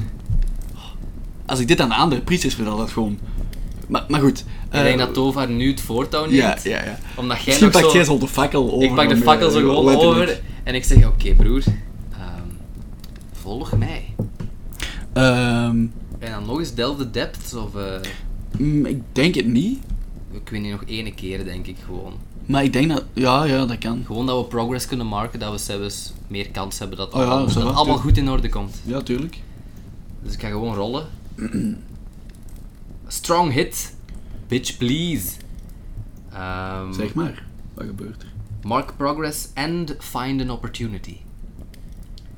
S2: Als ik dit aan de andere priesters vertel, dat gewoon. Maar, maar goed.
S1: Ik denk
S2: eh,
S1: dat Tovar nu het voortouw neemt.
S2: Ja, ja, ja.
S1: Omdat jij
S2: Misschien
S1: nog
S2: pakt
S1: zo-
S2: jij zo de fakkel over.
S1: ik pak de
S2: om, eh,
S1: fakkel zo gewoon
S2: letterlijk.
S1: over en ik zeg: Oké, broer, ehm, volg mij.
S2: Ehm,
S1: En dan nog eens delve the depths of. eh,
S2: mm, ik denk het niet,
S1: ik weet niet, nog ene keer denk ik gewoon.
S2: maar ik denk dat. Ja, ja, dat kan.
S1: Gewoon dat we progress kunnen maken, dat we zelfs meer kans hebben dat,
S2: Oh ja,
S1: allemaal-
S2: zo
S1: dat
S2: wat,
S1: het allemaal
S2: ja.
S1: goed in orde komt.
S2: Ja, tuurlijk.
S1: Dus ik ga gewoon rollen. Strong hit. Bitch, please. Ehm,
S2: Zeg maar, wat gebeurt er?
S1: Mark progress and find an opportunity.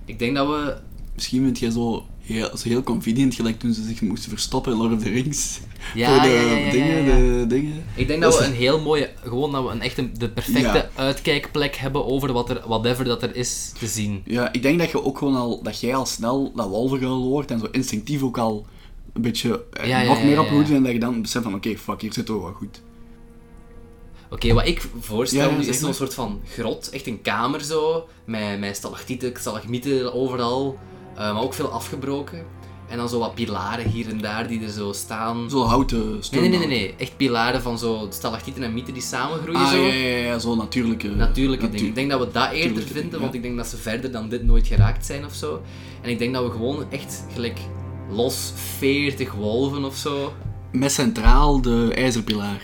S1: Ik denk dat we...
S2: Misschien vind jij zo heel, zo heel convenient, gelijk toen ze zich moesten verstoppen in Lord of the Rings.
S1: Ja,
S2: Voor de
S1: ja, ja, ja,
S2: dingen,
S1: ja, ja.
S2: de dingen.
S1: Ik denk dat
S2: is-
S1: we een heel mooie... Gewoon dat we een echte, de perfecte
S2: Ja.
S1: uitkijkplek hebben over wat er, whatever dat er is te zien.
S2: Ja, ik denk dat je ook gewoon al, dat jij al snel dat walvergeil hoort en zo instinctief ook al een beetje eh,
S1: Ja, ja,
S2: nog
S1: ja,
S2: meer
S1: ja,
S2: op moet
S1: ja.
S2: en dat je dan beseft van oké, fuck, hier zit ook wel goed.
S1: Oké, wat ik voorstel
S2: Ja, ja,
S1: nu
S2: zeg
S1: is zo'n
S2: maar.
S1: soort van grot, echt een kamer zo, met, met stalactieten, stalagmieten overal, eh, maar ook veel afgebroken. En dan zo wat pilaren hier en daar die er zo staan.
S2: Zo houten
S1: Nee, nee, nee, nee, nee. echt pilaren van zo stalactieten en mieten die samengroeien
S2: Ah,
S1: zo.
S2: ja, ja, ja, zo natuurlijke...
S1: Natuurlijke
S2: natu-
S1: dingen. Ik denk dat we dat eerder
S2: Natuurlijke
S1: vinden,
S2: dingen,
S1: want
S2: ja.
S1: ik denk dat ze verder dan dit nooit geraakt zijn of zo. En ik denk dat we gewoon echt gelijk los 40 wolven of zo.
S2: Met centraal de ijzerpilaar.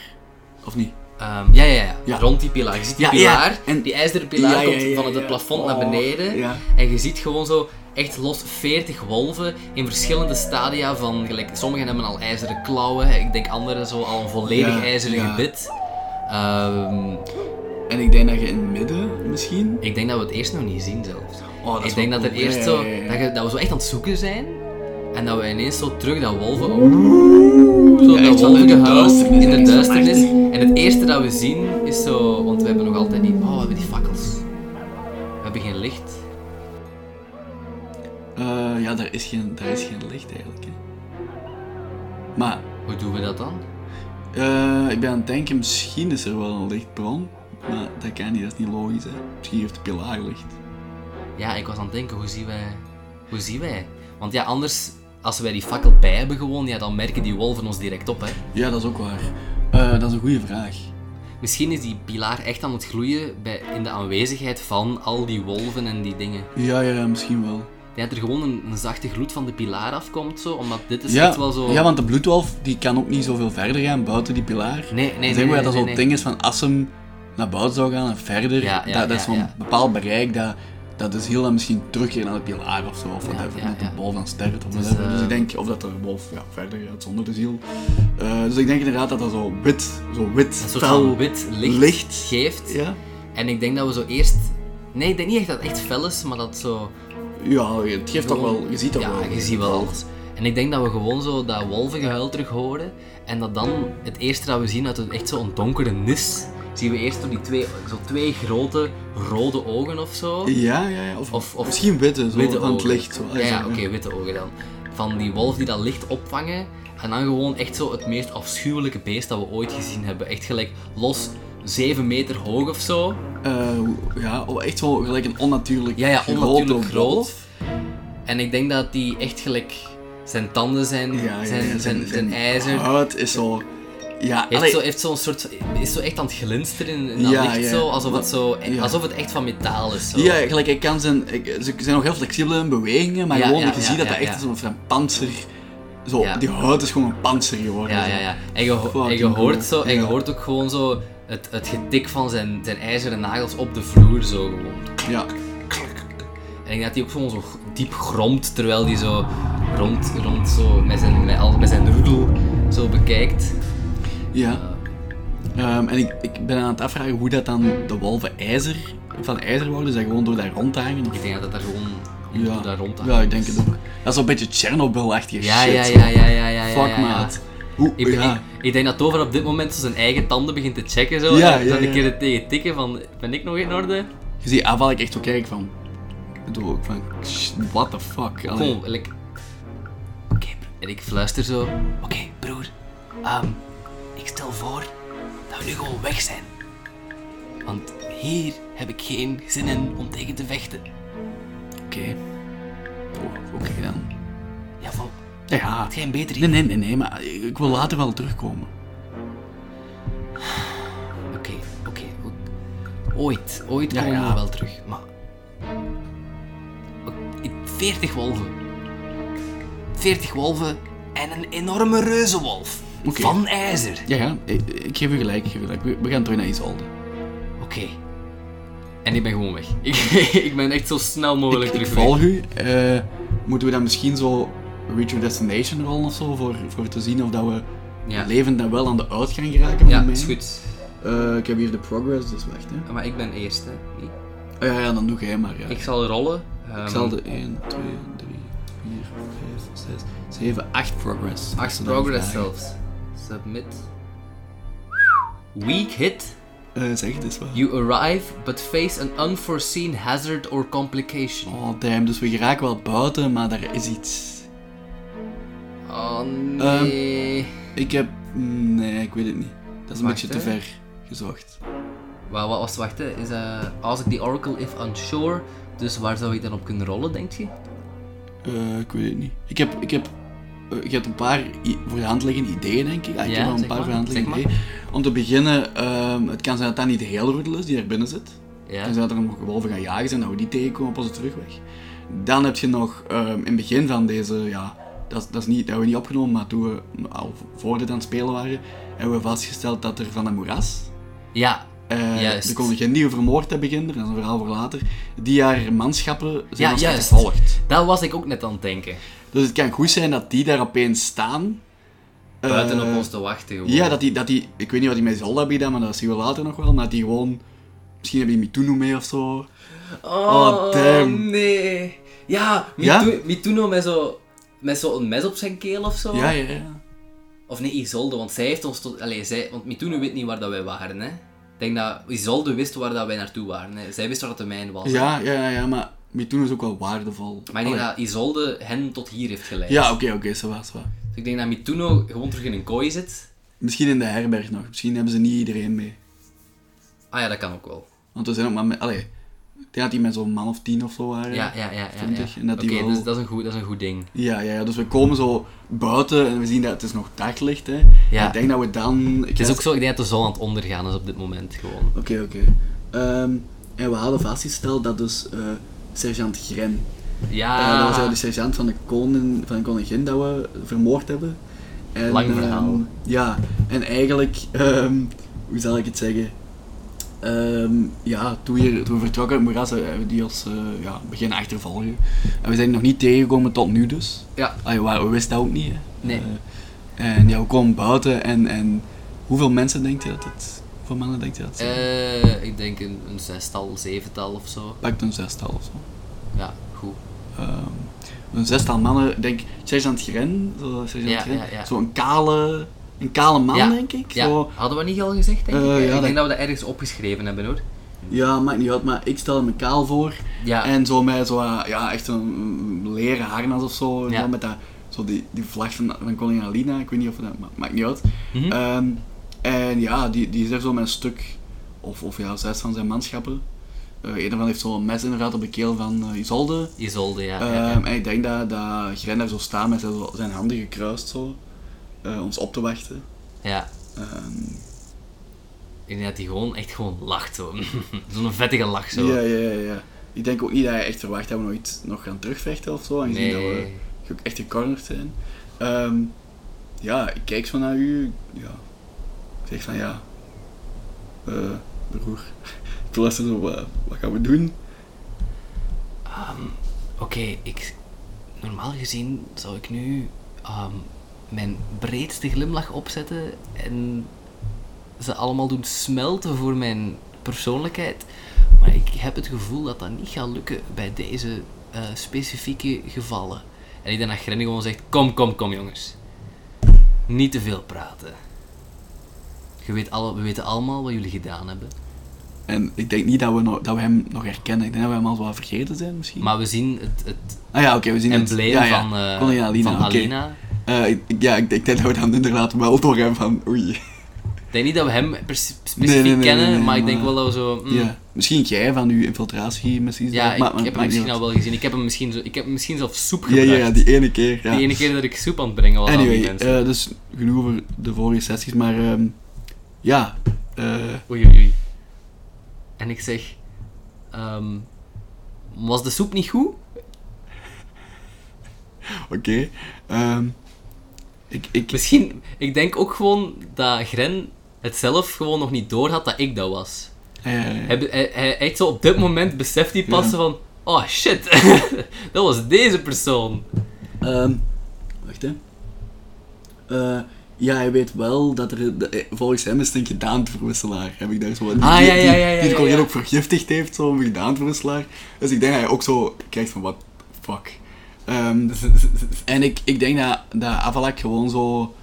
S2: Of niet?
S1: Ehm, ja, ja, ja,
S2: Ja.
S1: Rond die pilaar. Je ziet die
S2: Ja, ja.
S1: pilaar.
S2: En-
S1: Die ijzeren pilaar
S2: Ja, ja,
S1: komt
S2: ja,
S1: van het
S2: ja.
S1: plafond naar
S2: Oh,
S1: beneden.
S2: ja.
S1: En je ziet gewoon zo echt los 40 wolven in verschillende stadia van... Gelijk, sommigen hebben al ijzeren klauwen. Ik denk anderen zo al een volledig
S2: Ja,
S1: ijzeren
S2: ja.
S1: gebit. Ehm,
S2: En ik denk dat je in het midden, misschien...
S1: ik denk dat we het eerst nog niet zien zelfs.
S2: Oh, dat is
S1: ik denk
S2: wel
S1: dat, er
S2: cool.
S1: eerst
S2: Ja,
S1: zo,
S2: ja, ja, ja.
S1: Dat, je- dat we zo echt aan het zoeken zijn. En dat we ineens zo terug dat wolven... zo
S2: Ja,
S1: dat
S2: echt wel in de
S1: wolvengehuil
S2: duisternis,
S1: in de
S2: echt zo
S1: duisternis.
S2: echt.
S1: En het eerste dat we zien is zo... Want we hebben nog altijd niet... Oh, we hebben die fakkels. We hebben geen licht.
S2: Eh, ja, daar is, geen, daar is geen licht eigenlijk. Hè. Maar
S1: Hoe doen we dat dan?
S2: eh, ik ben aan het denken, misschien is er wel een lichtbron. Maar dat kan niet, dat is niet logisch. Hè. Misschien heeft de pilaar licht.
S1: Ja, ik was aan het denken, hoe zien wij... Hoe zien wij? Want ja, anders... Als wij die fakkel bij hebben gewoon, ja, dan merken die wolven ons direct op, hè.
S2: Ja, dat is ook waar. Eh, dat is een goede vraag.
S1: Misschien is die pilaar echt aan het gloeien bij, in de aanwezigheid van al die wolven en die dingen.
S2: Ja, ja, misschien wel.
S1: Ja, dat er gewoon een, een zachte gloed van de pilaar afkomt, zo, omdat dit is
S2: Ja,
S1: echt wel zo...
S2: ja, want de bloedwolf die kan ook niet zoveel verder gaan buiten die pilaar.
S1: Nee, nee,
S2: Dan
S1: nee,
S2: zeggen we
S1: nee, nee,
S2: dat zo'n
S1: nee.
S2: ding is van als hem naar buiten zou gaan en verder,
S1: Ja, ja,
S2: dat, dat
S1: ja,
S2: is zo'n
S1: ja.
S2: bepaald bereik dat, dat is heel dan misschien terugkeert naar de pilaar of zo. Of whatever,
S1: ja,
S2: dat
S1: ja.
S2: de wolf dan sterft of
S1: Dus,
S2: whatever. Dus
S1: eh,
S2: ik denk, of dat de wolf ja, verder gaat zonder de ziel. Eh, dus ik denk inderdaad dat dat zo wit, zo wit,
S1: Een soort
S2: fel
S1: van wit licht,
S2: licht.
S1: geeft.
S2: Ja,
S1: En ik denk dat we zo eerst... Nee, ik denk niet echt dat het echt fel is, maar dat zo...
S2: ja, het geeft toch wel, je ziet toch
S1: ja,
S2: wel.
S1: je ziet wel alles. En ik denk dat we gewoon zo dat wolvengehuil terug horen. En dat dan het eerste dat we zien uit het echt zo'n donkere nis, zien we eerst zo die twee, zo twee grote rode ogen of zo.
S2: Ja, ja, ja. Of,
S1: Of- of
S2: misschien witte, zo
S1: witte
S2: aan het
S1: ogen.
S2: licht. Zo.
S1: Ja, ja,
S2: Zo,
S1: oké, witte ogen dan. van die wolf die dat licht opvangen. En dan gewoon echt zo het meest afschuwelijke beest dat we ooit gezien hebben. Echt gelijk los 7 meter hoog of zo.
S2: Eh, ja, oh, echt wel gelijk een onnatuurlijk
S1: Ja, ja, onnatuurlijk
S2: grote
S1: groot.
S2: wolf.
S1: En ik denk dat die echt gelijk zijn tanden zijn,
S2: Ja, ja, ja,
S1: zijn, zijn, zijn, ijzer.
S2: huid is zo... Ja,
S1: Heeft
S2: allee,
S1: zo, heeft zo'n soort, is zo echt aan het glinsteren in, in dat
S2: Ja,
S1: licht
S2: ja.
S1: zo, alsof het, zo,
S2: Ja.
S1: alsof het echt van metaal is. Zo.
S2: Ja, gelijk, ik kan zijn, ik- ze zijn nog heel flexibel in bewegingen, maar
S1: Ja,
S2: gewoon
S1: ja,
S2: dat je
S1: ja,
S2: ziet dat
S1: ja,
S2: dat echt
S1: ja.
S2: is alsof er een panzer... Zo,
S1: Ja.
S2: die huid is gewoon een panzer geworden.
S1: Ja,
S2: zo.
S1: ja, ja. En je, ho- en
S2: Fucking
S1: je hoort, zo,
S2: cool.
S1: en je
S2: Ja.
S1: hoort ook gewoon zo het, het getik van zijn, zijn ijzeren nagels op de vloer zo gewoon.
S2: Ja.
S1: En ik denk dat hij ook gewoon zo diep gromt terwijl hij zo rond, rond zo met zijn, met, al- met zijn roedel zo bekijkt.
S2: ja. Ehm, en ik, ik ben aan het afvragen hoe dat dan de wolven ijzer, van ijzer worden. Is dat gewoon door daar rond te hangen? Of...
S1: Ik denk dat dat daar gewoon
S2: Ja.
S1: daar rond
S2: Ja, ik denk het ook. Dat is wel een beetje Chernobyl-achtige
S1: Ja,
S2: shit.
S1: ja, ja, ja, ja, ja.
S2: Fuck,
S1: ja, ja.
S2: maat. Hoe,
S1: Ik, ben-
S2: ja.
S1: ik, ik denk dat Tover op dit moment zo zijn eigen tanden begint te checken. Zo,
S2: Ja,
S1: en
S2: ja,
S1: dan een
S2: ja.
S1: keer het tegen tikken van, ben ik nog in orde?
S2: Je ziet aanval ik echt ook kijken van... Ik bedoel ook van... sh- What the fuck? allee.
S1: Gewoon, like, oké bro- En ik fluister zo, oké broer, ehm, ik stel voor dat we nu gewoon weg zijn. Want hier heb ik geen zin in om tegen te vechten.
S2: Oké. Oh, Oké dan.
S1: Ja, vol.
S2: Ja, ja.
S1: Had jij een beter
S2: Nee, nee, nee, nee, maar ik ik wil later wel terugkomen.
S1: Oké, oké, goed. Ooit, ooit
S2: Ja,
S1: komen
S2: ja.
S1: we wel terug, maar... Oké, 40 wolven. 40 wolven en een enorme reuzenwolf.
S2: Oké.
S1: Van ijzer.
S2: Ja, ja. Ik, ik geef u gelijk, ik geef u gelijk. We, we gaan terug naar Isolde.
S1: Oké. En ik ben gewoon weg. Ik, ik ben echt zo snel mogelijk
S2: Ik, ik
S1: terug
S2: volg u. Eh, moeten we dan misschien zo Reach Your Destination rollen of zo? Voor, voor te zien of dat we
S1: Ja.
S2: levend en wel aan de uitgang geraken van
S1: Ja,
S2: mij?
S1: is goed.
S2: Eh, ik heb hier de progress, dus wacht hè.
S1: Maar ik ben eerst, hè. Ik-
S2: Ah, ja, ja, dan doe jij maar. Ja.
S1: Ik zal rollen. Ehm,
S2: Ik zal de 1, 2, 3, 4, 5, 6, 7, 8 progress. Dat
S1: Acht
S2: ze dan
S1: progress
S2: vragen.
S1: zelfs. Submit. Weak hit.
S2: Eh, zeg het eens wel.
S1: You arrive, but face an unforeseen hazard or complication.
S2: Oh damn, dus we geraken wel buiten, maar daar is iets.
S1: Oh
S2: Ehm.
S1: nee.
S2: Ik heb... mm, Nee, ik weet het niet. Dat is een
S1: Wacht,
S2: beetje te
S1: hè.
S2: ver gezocht.
S1: Wa- Wat was wacht, hè? Is, eh, als ik die oracle if unsure, dus waar zou ik dan op kunnen rollen, denk je?
S2: Eh, ik weet het niet. Ik heb... Ik heb eh, je hebt een paar i- voor de hand liggende ideeën, denk ik. Ah, ik
S1: Ja,
S2: heb wel een
S1: zeg
S2: paar
S1: maar,
S2: voor de hand
S1: zeg
S2: liggende
S1: maar.
S2: ideeën. Om te beginnen, ehm, het kan zijn dat dat niet de hele roedel is die er binnen zit.
S1: Ja.
S2: En zijn dat er nog wolven gaan jagen zijn, dat we die tegenkomen op onze terugweg. Dan heb je nog ehm, in het begin van deze, ja, dat, is- dat, is niet, dat hebben we niet opgenomen, maar toen we al voor dit aan het spelen waren, hebben we vastgesteld dat er van een moeras,
S1: Ja.
S2: eh,
S1: Juist.
S2: de koningin die we vermoord hebben kinderen, dat is een verhaal voor later, die haar manschappen zijn
S1: Ja,
S2: manschappen
S1: juist.
S2: volgt.
S1: Dat was ik ook net aan het denken.
S2: Dus het kan goed zijn dat die daar opeens staan. eh,
S1: Buiten op ons te wachten gewoon.
S2: Ja, dat die, dat die, ik weet niet wat die met Zolda hebben gedaan, maar dat zien we later nog wel, maar dat die gewoon, misschien hebben die Mituno mee of zo. Oh, damn.
S1: nee. Ja,
S2: Ja?
S1: Mitu- Mituno met zo... Met zo'n mes op zijn keel of zo.
S2: Ja, ja, ja.
S1: Of nee, Isolde, want zij heeft ons tot... Allee, zij... Want Mituno weet niet waar dat wij waren, hè. Ik denk dat Isolde wist waar dat wij naartoe waren. Hè. Zij wist waar dat de mijn was.
S2: Ja, ja, ja, ja, maar Mitoen is ook wel waardevol.
S1: Maar ik denk
S2: Allee.
S1: dat Isolde hen tot hier heeft geleid.
S2: Ja, oké, oké, zo was wel.
S1: Dus ik denk dat Mituno gewoon terug in een kooi zit.
S2: Misschien in de herberg nog. Misschien hebben ze niet iedereen mee.
S1: Ah ja, dat kan ook wel.
S2: Want we zijn ook maar met... Allee, ik denk dat die met zo'n man of tien of zo waren.
S1: Ja, ja, ja. ja, ja,
S2: 20 en dat
S1: Oké,
S2: die wel-
S1: dus dat is, een goed, dat is een goed ding.
S2: Ja, ja, ja, dus we komen zo buiten en we zien dat het is nog daglicht, hè.
S1: Ja.
S2: Ik denk dat we dan...
S1: Het is ook zo, ik denk dat de zon aan het ondergaan is op dit moment gewoon.
S2: Oké, oké. Ehm, en we hadden vastgesteld dat dus eh, sergeant Gren...
S1: Ja.
S2: eh, dat was eigenlijk de sergeant van de, koning, van de koningin dat we vermoord hebben. En,
S1: Lang verhaal.
S2: ehm, ja, en eigenlijk, ehm, hoe zal ik het zeggen? Ehm, ja, toen we, hier- toen we vertrokken uit Moeras hebben we die als eh ja, begin achtervolgen. En we zijn nog niet tegengekomen tot nu dus.
S1: Ja.
S2: Allee, waar- we wisten dat ook niet. Hè.
S1: Nee.
S2: Eh, en ja, we komen buiten en, en hoeveel mensen denkt je dat het, hoeveel mannen denkt je dat het zijn?
S1: Eh, ik denk een, een zestal, zevental of zo.
S2: Pakt een zestal of zo.
S1: Ja, goed.
S2: Ehm, een zestal mannen, ik denk Sergeant Gren, zo, sergeant
S1: Ja,
S2: Gren,
S1: ja, ja.
S2: zo een kale, een kale man
S1: ja.
S2: denk ik.
S1: Ja.
S2: Zo,
S1: Hadden we niet al gezegd, denk ik?
S2: Eh,
S1: ik
S2: ja,
S1: denk
S2: dat-
S1: dat we dat ergens opgeschreven hebben, hoor.
S2: ja, maakt niet uit, maar ik stel hem kaal voor.
S1: Ja.
S2: En zo met zo, eh, ja, echt een mm, leren harnas of zo, en
S1: Ja.
S2: zo met dat Zo die, die vlag van, van koningin Alina, ik weet niet of dat ma- maakt niet uit.
S1: Mhm.
S2: Ehm, en ja, die, die is er zo met een stuk, of, of ja, zes van zijn manschappen. Eh een van heeft zo'n mes inderdaad op de keel van eh, Isolde.
S1: Isolde, ja. ja, ja.
S2: Ehm, En ik denk dat, dat Gren daar zo staat met zijn, zijn handen gekruist zo, eh, ons op te wachten.
S1: ja.
S2: Ehm,
S1: Ik denk dat hij gewoon echt gewoon lacht. zo. Zo'n vettige lach zo.
S2: Ja, ja, ja, ja. Ik denk ook niet dat je echt verwacht dat we nooit nog gaan terugvechten of zo. Aangezien dat we
S1: Nee.
S2: ook echt gecornerd zijn. Ehm, ja, ik kijk zo naar u. Ja. Ik zeg van ja. eh, broer. Ik wil even zo, wat, wat gaan we doen?
S1: Ehm, Oké, ik... Normaal gezien zou ik nu ehm, mijn breedste glimlach opzetten en ze allemaal doen smelten voor mijn persoonlijkheid. Maar ik heb het gevoel dat dat niet gaat lukken bij deze eh, specifieke gevallen. En ik denk dat Grenny gewoon zegt, kom, kom, kom jongens. Niet te veel praten. Je weet alle, we weten allemaal wat jullie gedaan hebben.
S2: En ik denk niet dat we, nog- dat we hem nog herkennen. Ik denk dat we hem al wel vergeten zijn misschien.
S1: Maar we zien het, het
S2: ah ja, oké, we zien het.
S1: embleem
S2: ja, ja.
S1: van, eh,
S2: Koningin Alina.
S1: van
S2: oké.
S1: Alina.
S2: Eh, ik- ik- ja, ik denk dat we dan inderdaad wel door hem van oei.
S1: Ik denk niet dat we hem per- specifiek
S2: Nee, nee, nee,
S1: kennen,
S2: nee, nee,
S1: maar ik denk
S2: maar-
S1: wel dat we zo... mm,
S2: Ja. Misschien jij van uw infiltratie misschien.
S1: ja, ik,
S2: maar- maar
S1: ik heb
S2: het
S1: hem
S2: maakt niet
S1: misschien al wel gezien. Ik heb hem misschien, zo, ik heb hem misschien zelfs soep
S2: Ja,
S1: gebruikt.
S2: ja, ja, die ene keer. Ja.
S1: Die ene keer dat ik soep aan het brengen was aan die
S2: Anyway,
S1: mensen.
S2: eh, dus genoeg over de vorige sessies, maar ehm, ja. eh,
S1: Oei, oei, oei. En ik zeg... ehm, was de soep niet goed?
S2: Oké. ehm, ik, ik,
S1: Misschien... Ik denk ook gewoon dat Gren het zelf gewoon nog niet door had dat ik dat was.
S2: eh,
S1: Hij, be- hij, hij- echt zo op dit moment beseft hij pas
S2: Ja.
S1: van... Oh, shit. dat was deze persoon.
S2: ehm, wacht hè. Eh, ja, hij weet wel dat er. de- eh, volgens hem is het een gedaanteverwisselaar. Heb ik daar zo wat.
S1: Ah, ja, ja, ja, ja,
S2: Die de
S1: ja,
S2: koningin
S1: ja.
S2: ook vergiftigd heeft, zo'n gedaanteverwisselaar. Dus ik denk dat hij ook zo kijkt van: wat fuck. Ehm, En ik, ik denk dat, dat Avalak gewoon zo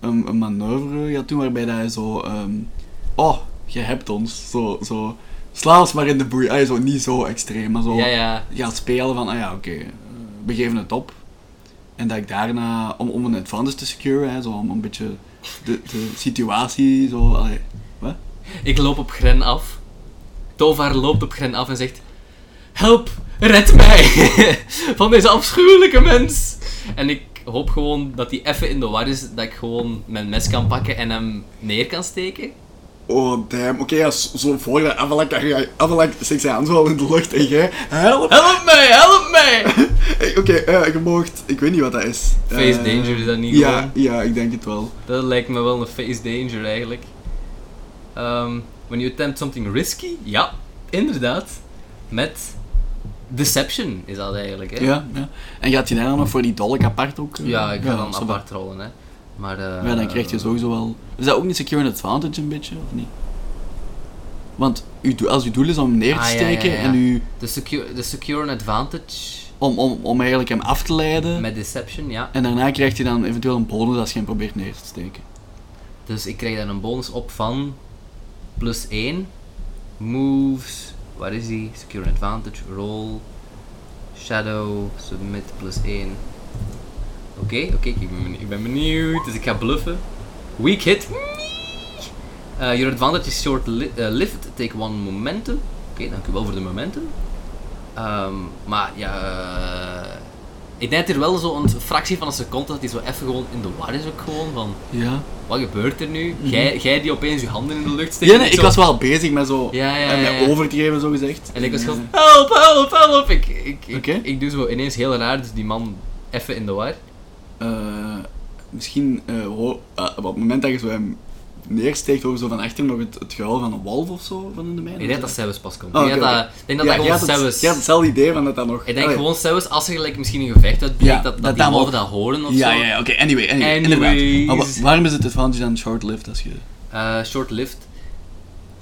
S2: een, een manoeuvre gaat doen waarbij dat hij zo... ehm, oh, je hebt ons. Zo, zo, sla ons maar in de boei. Ah, zo, niet zo extreem, maar zo
S1: ja, ja.
S2: gaat spelen van... Ah ja, oké, eh, we geven het op. En dat ik daarna, om, om een advantage te securen, hè, zo, om een beetje de, de situatie zo... allee, wat?
S1: Ik loop op Gren af. Tovar loopt op Gren af en zegt: Help, red mij van deze afschuwelijke mens. En ik hoop gewoon dat hij even in de war is, dat ik gewoon mijn mes kan pakken en hem neer kan steken.
S2: Oh, damn. Oké, ja, zo zo voor ah, dat Avalak... Avalak steekt zijn hand zo al in de lucht en jij... Help!
S1: Help mij, help mij!
S2: Hey, Oké, eh, je moogt... Ik weet niet wat dat is.
S1: Face
S2: Eh,
S1: danger, is dat niet
S2: Ja,
S1: gewoon?
S2: ja, ik denk het wel.
S1: Dat lijkt me wel een face danger eigenlijk. Ehm, when you attempt something risky? Ja, inderdaad. Met deception is dat eigenlijk. Hè?
S2: Ja, ja. En gaat je daar dan nog voor die dolk apart ook? eh?
S1: Ja, ik ga dan
S2: zo
S1: apart rollen. Hè. Maar,
S2: wat.
S1: eh,
S2: Ja, dan krijg je sowieso wel... Is dat ook niet secure advantage een beetje, of niet? Want uw doel- als je doel is om hem neer te
S1: Ah, ja, ja,
S2: steken
S1: ja.
S2: en u,
S1: De secure, de secure an advantage
S2: om, om, om eigenlijk hem af te leiden...
S1: met deception, ja.
S2: En daarna krijg je dan eventueel een bonus als je hem probeert neer te steken.
S1: Dus ik krijg daar een bonus op van plus 1. Moves, waar is die? Secure an advantage, roll, shadow, submit, plus 1. Oké, oké, ik, ben benieu- ik ben benieuwd. Dus ik ga bluffen. Weak hit. Eh, your advantage is short li eh, lived, take one momentum. Oké, dank u wel voor de momentum. Ehm, maar ja, eh, ik denk dat er wel zo'n fractie van een seconde dat hij zo even gewoon in de war is ook gewoon van
S2: Ja.
S1: wat gebeurt er nu? Jij, jij die opeens je handen in de lucht steekt.
S2: Mhm. Ja, nee,
S1: zo-
S2: ik was wel bezig met zo...
S1: Ja, ja,
S2: en
S1: ja,
S2: met
S1: ja.
S2: over te geven, zo gezegd.
S1: En ik was
S2: eh,
S1: gewoon, help, help, help! Ik, ik, ik,
S2: Oké.
S1: ik doe zo ineens heel raar, dus die man even in de war.
S2: Eh, misschien eh, ho- eh, op het moment dat je zo hem neersteekt, hoor je zo van achter nog het, het gehuil van een wolf of zo van in de mijn.
S1: Ik denk dat Sebus pas komt.
S2: Oh,
S1: ik denk
S2: oké,
S1: dat,
S2: oké.
S1: ik denk dat,
S2: Ja,
S1: dat
S2: je
S1: gewoon
S2: had het-
S1: Sebus...
S2: Je had hetzelfde idee van dat dat nog...
S1: Ik denk
S2: Allee.
S1: gewoon Sebus, als er gelijk misschien een gevecht uitbreekt,
S2: Ja,
S1: dat, dat,
S2: dat
S1: die
S2: dat
S1: wolven
S2: mag.
S1: dat horen of
S2: Ja,
S1: zo.
S2: ja, ja, oké, anyway, anyway,
S1: Anyways.
S2: inderdaad. Maar wa- waarom is het advantage dan short-lived als je...
S1: Eh, Short-lived.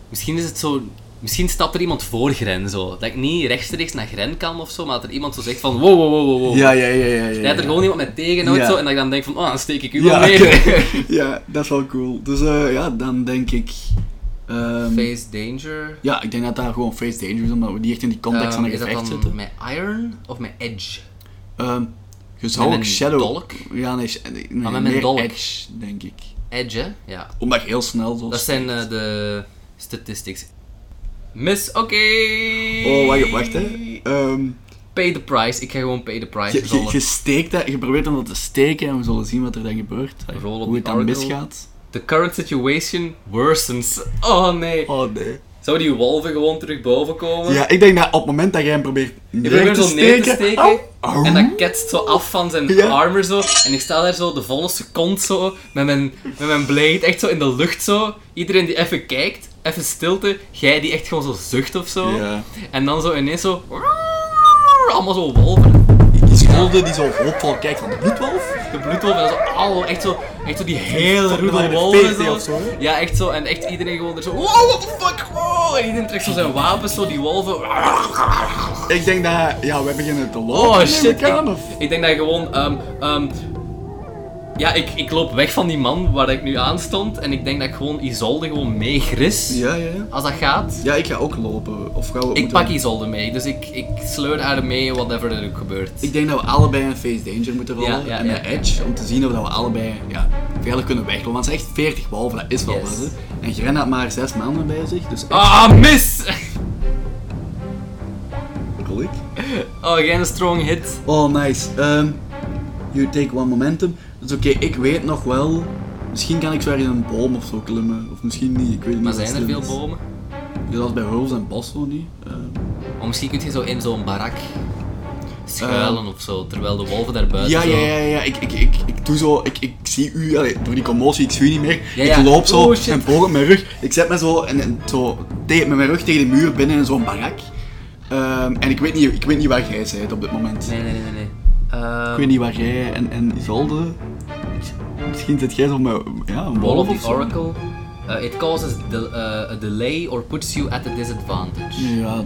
S1: Misschien is het zo... Misschien stapt er iemand voor Gren, zo. Dat ik niet rechtstreeks naar Gren kan of zo, maar dat er iemand zo zegt van, wow, wow, wow, wow, wow.
S2: Ja, ja, ja, ja, ja.
S1: Dat Oh. er gewoon iemand met tegenhoudt,
S2: Ja.
S1: zo, en dat ik dan denk van, oh, dan steek ik u wel
S2: Ja,
S1: mee.
S2: oké. ja, dat is wel cool. Dus eh, ja, dan denk ik... ehm,
S1: Face danger.
S2: Ja, ik denk dat daar gewoon face danger is, omdat we niet echt in die context
S1: Ehm,
S2: van een
S1: is dat
S2: gevecht
S1: dan
S2: zitten.
S1: met iron of met edge?
S2: Ehm, Je zou
S1: Met
S2: ook
S1: mijn
S2: Shadow...
S1: dolk? Ah,
S2: Ja, nee, sh- nee,
S1: met mijn
S2: meer
S1: dolk.
S2: Edge, denk ik.
S1: Edge, hè? Ja.
S2: Omdat je heel snel was.
S1: Dat zijn eh, de statistics. Miss, oké.
S2: Oh, wacht, wacht hè. Ehm,
S1: Pay the price. Ik ga gewoon pay the price.
S2: je,
S1: Dus
S2: je,
S1: alle-
S2: je steekt dat, je probeert om dat te steken en we zullen zien wat er dan gebeurt.
S1: Rol op
S2: Hoe het
S1: die
S2: dan
S1: Oracle.
S2: misgaat.
S1: The current situation worsens. Oh nee.
S2: Oh nee.
S1: Zou die wolven gewoon terug boven komen?
S2: Ja, ik denk dat op het moment dat jij hem probeert
S1: Ik
S2: neer
S1: probeer
S2: te
S1: zo neer te
S2: steken... oh,
S1: steken.
S2: Au, au.
S1: En dat ketst zo af van zijn
S2: Ja.
S1: armor zo. En ik sta daar zo de volle seconde zo met mijn, met mijn blade echt zo in de lucht zo. Iedereen die even kijkt, even stilte. Jij die echt gewoon zo zucht of zo.
S2: Ja.
S1: En dan zo ineens zo. Allemaal zo wolven.
S2: Die scholde die zo hoopvol kijkt van de bloedwolf.
S1: De bloedwolven en zo. Au, echt zo. Echt zo die hele
S2: Volgens
S1: roede
S2: mij de
S1: wolven
S2: VT
S1: zo.
S2: of zo, hè?
S1: Ja, echt zo. En echt iedereen gewoon er zo. Wow, what the fuck? Wow. En iedereen trekt zo zijn wapens, zo die wolven.
S2: Ik denk dat... Ja, we beginnen te lopen.
S1: Oh
S2: neem
S1: shit,
S2: ik aan,
S1: ik,
S2: of...
S1: ik denk dat je gewoon. ehm, ehm, ja, ik, ik loop weg van die man waar ik nu aan stond. En ik denk dat ik gewoon Isolde gewoon meegris.
S2: Ja, ja, ja.
S1: Als dat gaat.
S2: Ja, ik ga ook lopen. Of gaan we...
S1: Ik
S2: moeten
S1: pak
S2: we-
S1: Isolde mee. Dus ik, ik sleur haar mee, whatever er ook gebeurt.
S2: Ik denk dat we allebei een face danger moeten rollen.
S1: Ja, ja,
S2: en
S1: ja,
S2: een
S1: ja.
S2: edge, om te zien of dat we allebei ja, veilig kunnen weglopen. Want het zijn echt 40 wolven, dat is wel
S1: Yes.
S2: wat. hè. En Gren had maar 6 maanden bij zich, dus...
S1: Ah, mis! Ah.
S2: Klik.
S1: Oh, geen strong hit.
S2: Oh, nice. Ehm, you take one momentum. Dus oké, ik weet nog wel... Misschien kan ik zo ergens in een boom of zo klimmen. Of misschien niet, ik weet niet
S1: Maar
S2: wat
S1: zijn er
S2: slim
S1: veel
S2: is.
S1: bomen?
S2: Ja, dat is bij Hulls en Bos zo niet. Ehm,
S1: Of Oh, misschien kun je zo in zo'n barak schuilen of zo. Terwijl de wolven daar buiten
S2: Ehm. ja, ja,
S1: zo-
S2: ja, ja, ik, ik, ik, ik doe zo, ik, ik zie u, allee, door die commotie, ik zie u niet meer.
S1: Ja, ja.
S2: Ik loop zo,
S1: Oh, shit.
S2: en boog op mijn rug. Ik zet me zo, en, en zo tegen, met mijn rug tegen de muur binnen in zo'n barak. Ehm, en ik weet, niet, ik weet niet waar jij bent op dit moment.
S1: Nee, nee, nee, nee. nee. Ehm,
S2: Ik weet niet waar jij en, en Isolde... Misschien zit jij zo met ja, een
S1: Ball of
S2: wolf of
S1: the
S2: zo.
S1: Oracle. Uh, it causes del- uh, a delay or puts you at a disadvantage.
S2: Ja,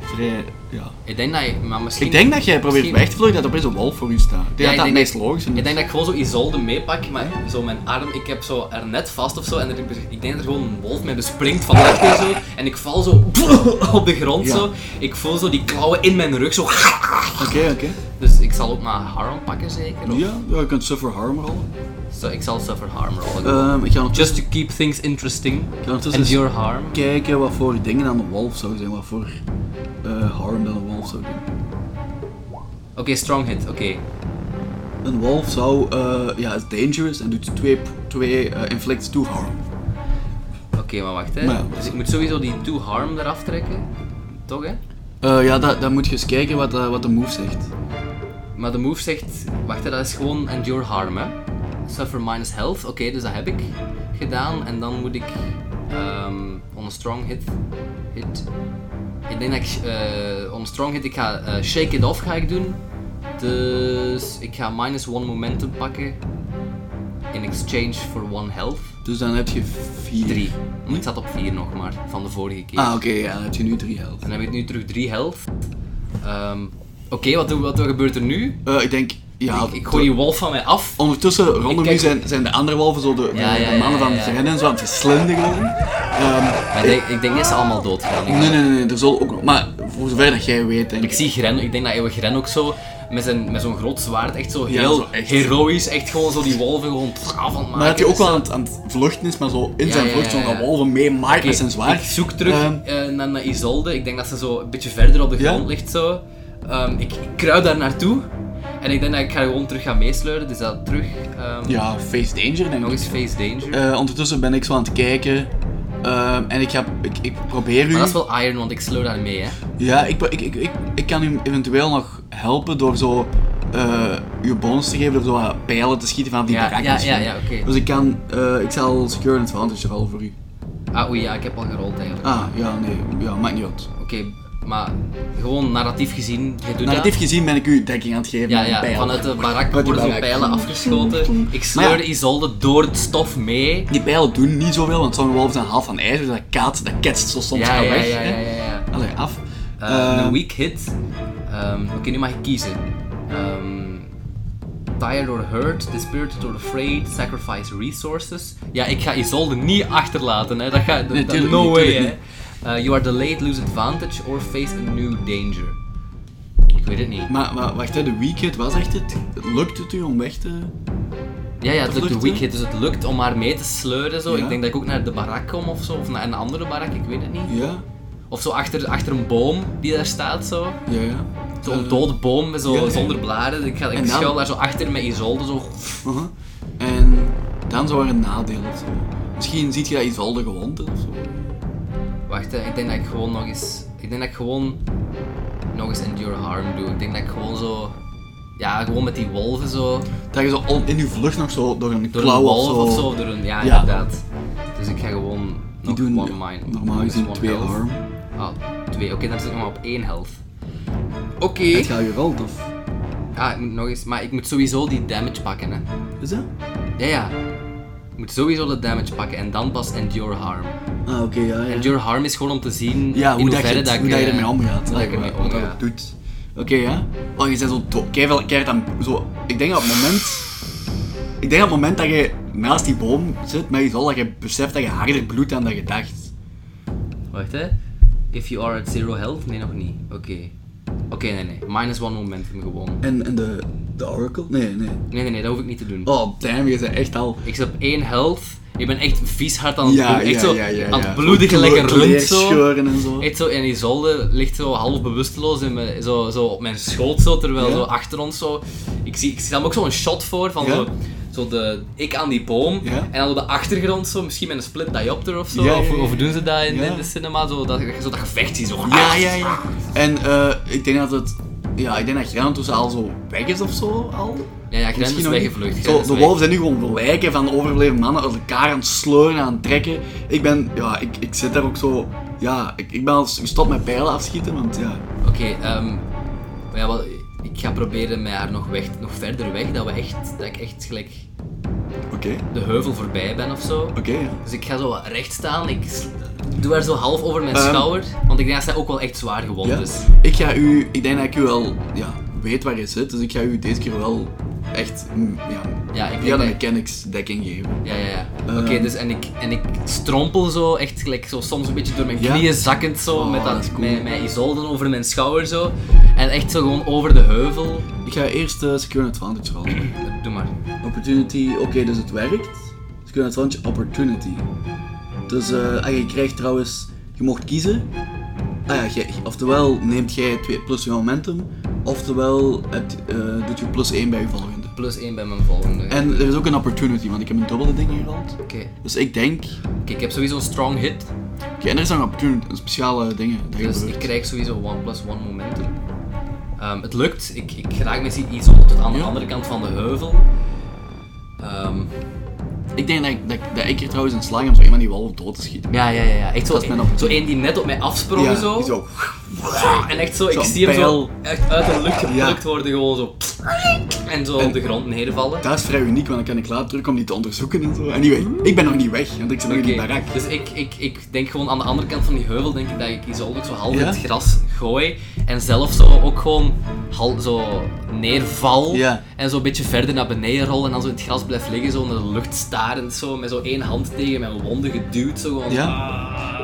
S2: vrij... Ja.
S1: Ik denk dat je, maar misschien...
S2: Ik denk dat jij probeert
S1: misschien-
S2: weg te vluchten dat er opeens een wolf voor u staat.
S1: Ja,
S2: Ik denk dat dat
S1: ik
S2: het
S1: denk
S2: meest
S1: dat-
S2: logische is.
S1: Ik denk dat ik gewoon zo Isolde meepak, maar zo mijn arm, ik heb zo er net vast of zo. En er, ik denk dat er gewoon een wolf mij bespringt van achter zo. En ik val zo op de grond
S2: Ja.
S1: zo. Ik voel zo die klauwen in mijn rug zo.
S2: Oké, oké.
S1: Dus ik zal ook maar harm pakken zeker? Of-
S2: Ja, ja, je kunt suffer harm rollen.
S1: Zo, ik zal suffer harm rollen. gewoon.
S2: Ehm, ik ga ondertussen-
S1: Just to keep things interesting.
S2: ga ondertussen
S1: And
S2: eens-
S1: your harm.
S2: kijken wat voor dingen aan de wolf zou zijn, wat voor eh, harm dat een wolf zou doen.
S1: Oké, strong hit. Oké.
S2: Een wolf zou, eh, ja, is dangerous en doet twee, twee eh, inflicts two harm.
S1: Oké, maar wacht hè.
S2: Maar ja.
S1: Dus ik moet sowieso die two harm eraf trekken. Toch hè?
S2: Eh, ja, dat, dat moet je eens kijken wat, eh, wat de move zegt.
S1: Maar de move zegt, wacht hè, dat is gewoon endure harm hè. Suffer minus health. Oké, dus dat heb ik gedaan. En dan moet ik ehm, on a strong hit. hit. Ik denk dat ik eh, on a strong hit, ik ga eh, shake it off ga ik doen. Dus ik ga minus one momentum pakken. In exchange for one health.
S2: Dus dan heb je vier.
S1: Drie. Want ik zat op vier nog maar, van de vorige keer.
S2: Ah, oké, ja, dan heb je nu drie health.
S1: Dan heb ik nu terug 3 health. Ehm, Oké, wat, doen- wat gebeurt er nu?
S2: Eh, ik denk, ja,
S1: Ik, ik gooi die wolf van mij af.
S2: Ondertussen rondom
S1: kijk-
S2: u zijn, zijn de andere wolven, zo de, de-
S1: Ja, ja,
S2: de
S1: ja,
S2: mannen van
S1: ja, ja.
S2: Gren en zo aan het verslinderen. Ehm,
S1: Maar ik, denk, ik denk dat ze allemaal doodgaan. Ik,
S2: nee, nee, nee, nee, er zal ook nog. Maar voor zover dat jij weet, denk
S1: ik zie Gren, ik denk dat eeuwig Gren ook zo met zijn, met zo'n groot zwaard echt zo
S2: Ja,
S1: heel
S2: zo echt.
S1: heroïs, echt gewoon zo die wolven gewoon af aan het maken.
S2: Maar dat hij ook
S1: is.
S2: wel aan het, aan het vluchten is, maar zo in
S1: Ja,
S2: zijn
S1: ja,
S2: vlucht,
S1: ja,
S2: zo'n
S1: ja.
S2: wolven mee maakt
S1: Oké,
S2: met zijn zwaard.
S1: Ik zoek terug
S2: Ehm,
S1: eh, naar, naar Isolde. Ik denk dat ze zo een beetje verder op de
S2: Ja?
S1: grond ligt. Zo. Ehm, ik, ik kruip daar naartoe. En ik denk dat ik ga gewoon terug gaan meesleuren. Dus dat terug. ehm,
S2: ja, face danger denk
S1: Nog
S2: ik.
S1: eens face danger.
S2: Eh, ondertussen ben ik zo aan het kijken. ehm, en ik, ga, ik, ik probeer u...
S1: Maar dat is wel iron, want ik sleur daar mee, hè.
S2: Ja, ik, pro- ik, ik, ik, ik kan u eventueel nog helpen door zo... eh uw bonus te geven door zo wat pijlen te schieten vanaf die
S1: Ja,
S2: barak
S1: ja,
S2: misschien.
S1: ja, ja, oké.
S2: Dus ik kan... eh, ik zal secure advantage rollen voor u.
S1: Ah, oei, ja, ik heb al gerold eigenlijk.
S2: Ah, ja, nee. Ja, maakt niet uit.
S1: Oké, maar gewoon narratief gezien, je doet
S2: Narratief
S1: dat.
S2: gezien ben ik u dekking aan het geven
S1: Ja,
S2: met
S1: ja,
S2: pijlen.
S1: vanuit de barak
S2: die
S1: worden zo
S2: barak.
S1: pijlen afgeschoten. Ik
S2: Maar
S1: sleur
S2: ja.
S1: Isolde door het stof mee.
S2: Die pijlen doen niet zoveel, want sommige wolven zijn half van ijzer, dus dat kaatst, dat ketst zo soms
S1: Ja,
S2: aan
S1: ja,
S2: weg.
S1: ja,
S2: hè.
S1: ja, ja, ja.
S2: Allee, af.
S1: Eh,
S2: Eh,
S1: Een weak hit. Ehm, Oké, nu mag ik kiezen. Ehm, tired or hurt, dispirited or afraid, sacrifice resources. Ja, ik ga Isolde niet achterlaten, hè. Dat ga, dat,
S2: Nee,
S1: dat-
S2: tuurlijk
S1: no
S2: niet,
S1: way,
S2: tuurlijk
S1: hè. Eh, you are delayed, lose advantage or face a new danger.
S2: Ik
S1: weet het niet.
S2: Maar, maar wacht, hè, de weekend was echt het. Lukt het u om weg te.
S1: Ja, ja, het lukt de
S2: vluchten?
S1: weekend, dus het lukt om haar mee te sleuren. Zo.
S2: Ja.
S1: Ik denk dat ik ook naar de barak kom of zo, of naar een andere barak, ik weet het niet.
S2: Ja,
S1: Of zo achter, achter een boom die daar staat, zo.
S2: ja, ja.
S1: Zo'n
S2: Eh,
S1: dode boom, met zo,
S2: ja, ja.
S1: zonder blaren. Ik, ga, ik
S2: En dan-
S1: schuil daar zo achter met Isolde, zo.
S2: aha. Mhm. En dan zou er een nadeel of zo. Misschien ziet je dat Isolde gewond is of zo.
S1: Wacht, hè, ik denk dat ik gewoon nog eens... Ik denk dat ik gewoon nog eens Endure Harm doe. Ik denk dat ik gewoon zo... Ja, gewoon met die wolven zo.
S2: Dat je zo on- in je vlucht nog zo door een
S1: Door
S2: klauw
S1: een
S2: of
S1: wolf
S2: zo.
S1: of zo. Door een, ja,
S2: Ja.
S1: inderdaad. Dus ik ga gewoon
S2: Die
S1: nog
S2: doen
S1: one mine.
S2: normaal
S1: dus
S2: gezien
S1: one
S2: twee
S1: health.
S2: arm.
S1: Ah, twee. Oké, dan zit ik nog maar op één health. Oké.
S2: Het gaat gerold of.
S1: Ah, ik moet nog eens... Maar ik moet sowieso die damage pakken, hè.
S2: Is dat?
S1: Ja, ja. Ik moet sowieso de damage pakken en dan pas Endure Harm.
S2: Ah, oké, ja. ja.
S1: Endure Harm is gewoon om te zien
S2: Ja, hoe
S1: in
S2: dat je,
S1: hoeverre
S2: het- hoe dat je
S1: eh,
S2: ermee omgaat.
S1: Hoe dat ik
S2: hè,
S1: ermee
S2: wat dat
S1: omga.
S2: het doet. Oké, ja. Oh, je bent zo do- keiveel- keihard aan... Zo, ik denk dat op het moment... Ik denk dat op het moment dat je naast die boom zit met je zal, dat je beseft dat je harder bloedt dan dat je dacht.
S1: Wacht, hè. If you are at zero health? Nee, nog niet. Oké. Oké, nee, nee. Minus one momentum gewoon.
S2: En, en de, de oracle? Nee, nee.
S1: Nee, nee, nee. Dat hoef ik niet te doen.
S2: Oh, damn, je bent echt al...
S1: Ik zit op één health. Ik ben echt vies hard aan het
S2: Ja,
S1: bloeden. Echt
S2: ja,
S1: zo
S2: ja, ja,
S1: aan
S2: ja.
S1: het bloeden
S2: Kleur-
S1: gelijk een rund zo.
S2: kleerscheuren en zo.
S1: Echt zo, en Isolde ligt zo half bewusteloos in mijn, zo, zo op mijn schoot, zo, terwijl
S2: Ja.
S1: zo achter ons zo... Ik zie, ik zie daar ook zo'n shot voor van
S2: Ja.
S1: zo, zo de, ik aan die boom,
S2: Ja.
S1: en dan op de achtergrond zo, misschien met een split diopter of zo,
S2: Ja, ja,
S1: of,
S2: ja,
S1: of
S2: ja.
S1: doen ze dat in,
S2: Ja.
S1: in de cinema, zo dat, zo dat gevecht zie, zo...
S2: Ja, ja, ja. En eh, ik denk dat het... Ja, ik denk dat Grant tussen al zo weg is of zo, al.
S1: Ja, ja, Gren
S2: Misschien
S1: is
S2: nog niet.
S1: weggevlucht.
S2: Zo,
S1: Gren is
S2: de
S1: weg.
S2: wolven zijn nu gewoon verwijken van overbleven mannen uit elkaar aan het sleuren, aan het trekken. Ik ben, ja, ik, ik zit daar ook zo, ja, ik, ik ben al gestopt met pijlen afschieten, want ja.
S1: Oké, ehm, maar ja, wel, ik ga proberen met haar nog, weg, nog verder weg, dat, we echt, dat ik echt gelijk
S2: Oké,
S1: de heuvel voorbij ben of zo.
S2: oké, ja.
S1: Dus ik ga zo wat recht staan, ik s- doe haar zo half over mijn
S2: Ehm.
S1: schouder, want ik denk dat zij ook wel echt zwaar gewond
S2: ja.
S1: is.
S2: Ik ga u, ik denk dat ik u wel, ja, weet waar je zit, dus ik ga u deze keer wel echt, mm, ja,
S1: Ja, ik
S2: via
S1: denk
S2: de
S1: dat-
S2: mechanics dekking geven.
S1: Ja, ja, ja.
S2: Ehm.
S1: Oké, dus en ik, en ik strompel zo, echt gelijk zo soms een beetje door mijn
S2: Ja?
S1: knieën zakkend zo,
S2: Oh,
S1: met, dat,
S2: dat is cool.
S1: met, met Isolde over mijn schouder zo. En echt zo gewoon over de heuvel.
S2: Ik ga eerst eh, Secure Advantage rollen.
S1: Doe maar.
S2: Opportunity, oké, dus het werkt. Secure Advantage, Opportunity. Dus eh, ah, je krijgt trouwens, je mocht kiezen. Ah ja, jij- oftewel neemt jij 2 plus je momentum, oftewel het, eh, doet je plus 1 bij je volgende.
S1: Plus één bij mijn volgende.
S2: En er is ook een opportunity, want ik heb een dubbele ding gerold.
S1: Oké,
S2: Dus ik denk,
S1: Oké, ik heb sowieso een strong hit,
S2: Oké, en er is nog een opportunity, een speciale dingen. Dat
S1: dus
S2: gebeurt.
S1: ik krijg sowieso one plus one momentum. Ehm, het lukt, ik, ik raak misschien iets op tot aan de
S2: Ja.
S1: andere kant van de heuvel. Ehm,
S2: Ik denk dat ik, dat, ik- dat ik hier trouwens een slag om zo iemand die wolf dood te schieten.
S1: ja, ja, ja, ja, echt zo,
S2: Dat is mijn opportunity.
S1: zo één die net op mij afsprong
S2: Ja,
S1: zo.
S2: zo.
S1: En echt zo, ik
S2: Zo'n
S1: zie hem zo
S2: pijl.
S1: echt uit de lucht geplukt
S2: Ja.
S1: worden, gewoon zo. En zo op de grond neervallen.
S2: Dat is vrij uniek, want dan kan ik later terug om die te onderzoeken en zo. En die weg. Ik ben nog niet weg, want ik zit nog in die
S1: Oké,
S2: barak.
S1: Dus ik, ik, ik denk gewoon aan de andere kant van die heuvel, denk ik dat ik Isolde ook zo half
S2: Ja?
S1: in het gras gooi. En zelf zo ook gewoon hal, zo neerval.
S2: Ja.
S1: En zo een beetje verder naar beneden rollen en dan zo in het gras blijf liggen, zo naar de lucht starend zo. Met zo één hand tegen mijn wonden geduwd, zo gewoon.
S2: Ja.
S1: Ah.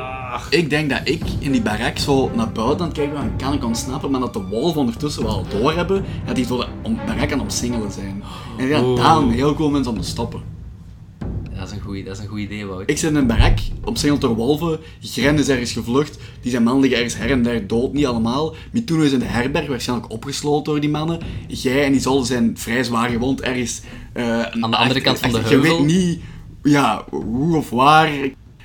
S2: Ik denk dat ik in die barak zo naar buiten aan het kijken ben, kan ik ontsnappen, maar dat de wolven ondertussen wel doorhebben dat die zo de om, barak aan het omsingelen zijn. En dat
S1: Oeh.
S2: daar een heel cool mensen om te stoppen.
S1: Dat is een goeie- dat is een goed idee, Wout.
S2: Ik zit in een barak, omsingeld door wolven, Gren is ergens gevlucht, die zijn mannen liggen ergens her en daar dood, niet allemaal. Mituno is in de herberg, waarschijnlijk opgesloten door die mannen. Jij en die Isolde zijn vrij zwaar gewond, ergens... eh,
S1: Aan de andere kant van de
S2: Je weet
S1: heuvel.
S2: niet ja, hoe of waar.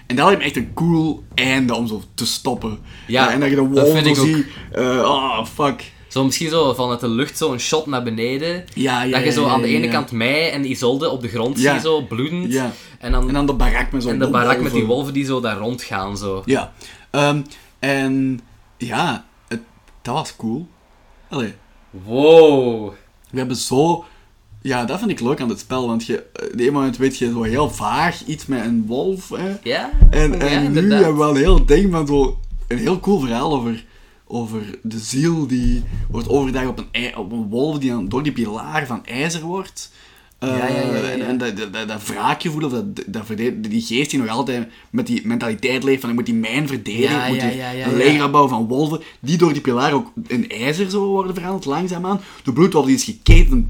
S2: En dat lijkt me echt een cool einde om zo te stoppen. Eh,
S1: Ja,
S2: en dat je de
S1: dat vind
S2: wolven
S1: ik
S2: zo
S1: ook.
S2: ziet. eh, oh, fuck.
S1: Zo misschien zo vanuit de lucht zo'n shot naar beneden.
S2: Ja, ja,
S1: dat je zo
S2: ja,
S1: aan de
S2: ja,
S1: ene
S2: ja.
S1: kant mij en Isolde op de grond
S2: Ja.
S1: ziet, zo bloedend.
S2: Ja.
S1: En dan,
S2: En dan de barak met zo'n
S1: en de barak met die
S2: wolven.
S1: wolven die zo daar rondgaan, zo.
S2: Ja. Ehm, en ja, het, dat was cool. Allee.
S1: Wow.
S2: We hebben zo... Ja, dat vind ik leuk aan dit spel, want je, eh, de ene moment weet je zo heel vaag iets met een wolf, hè.
S1: Ja?
S2: En,
S1: Ja,
S2: en nu
S1: inderdaad.
S2: hebben we al een heel ding van zo... Een heel cool verhaal over, over de ziel die wordt overgedragen op een, ij- op een wolf die dan door die pilaar van ijzer wordt. Eh,
S1: Ja, ja, ja, ja, ja.
S2: En, en dat, dat, dat, dat wraakgevoel, of dat, dat verde- die geest die nog altijd met die mentaliteit leeft van ik moet die mijn verdedigen,
S1: Ja,
S2: ik moet
S1: ja,
S2: hier
S1: ja, ja,
S2: een
S1: ja.
S2: leger aanbouwen van wolven, die door die pilaar ook in ijzer zo worden veranderd, langzaamaan. De bloedwolf die is geketend,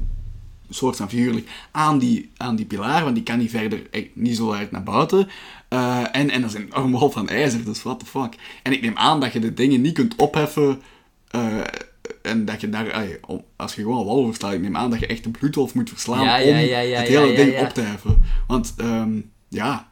S2: soort van figuurlijk, aan die, aan die pilaar, want die kan niet verder, eh, niet zo hard naar buiten. Eh, en, en dat is een enorme wolf van ijzer, dus what the fuck. En ik neem aan dat je de dingen niet kunt opheffen... eh, en dat je daar, ai, om- als je gewoon een wolf verslaat, ik neem aan dat je echt een bloedwolf moet verslaan
S1: Ja,
S2: om
S1: ja, ja, ja,
S2: het
S1: ja,
S2: hele
S1: ja,
S2: ding
S1: ja.
S2: op te heffen. Want ehm, ja,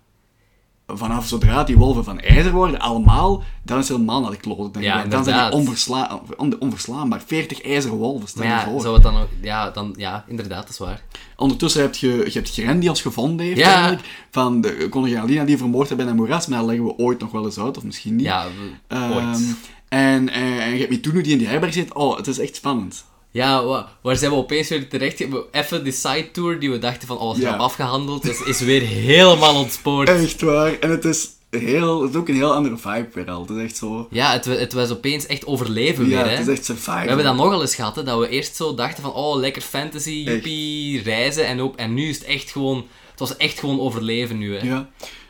S2: vanaf zodra die wolven van ijzer worden, allemaal, dan is het helemaal naar de klote. denk ik.
S1: Ja,
S2: dan zijn
S1: inderdaad.
S2: die onversla on- onverslaanbaar. 40 ijzeren wolven, stel
S1: Maar
S2: je
S1: ja,
S2: voor.
S1: zou het dan ook... Ja, dan, ja, inderdaad, dat is waar.
S2: Ondertussen heb je, je hebt Gren die ons gevonden heeft,
S1: Ja.
S2: eigenlijk. Van de koningin Alina die vermoord hebben in een moeras, maar dat leggen we ooit nog wel eens uit, of misschien niet.
S1: Ja, we-
S2: Ehm,
S1: ooit.
S2: en, eh, en, en je hebt Mituno die in die herberg zit. Oh, het is echt spannend.
S1: Ja, wa- waar zijn we opeens weer terecht? We- Even die side tour die we dachten van, oh, wat
S2: Ja.
S1: grap afgehandeld, is, is weer helemaal ontspoord.
S2: Echt waar. En het is, heel, het is ook een heel andere vibe weer al. Het is echt zo...
S1: Ja, het, wa- het was opeens echt overleven
S2: Ja,
S1: weer, hè.
S2: het is echt survival.
S1: We hebben dat nogal eens gehad, hè, dat we eerst zo dachten van, oh, lekker fantasy, joepie, reizen en op. En nu is het echt gewoon... Het was echt gewoon overleven nu, hè.
S2: Ja.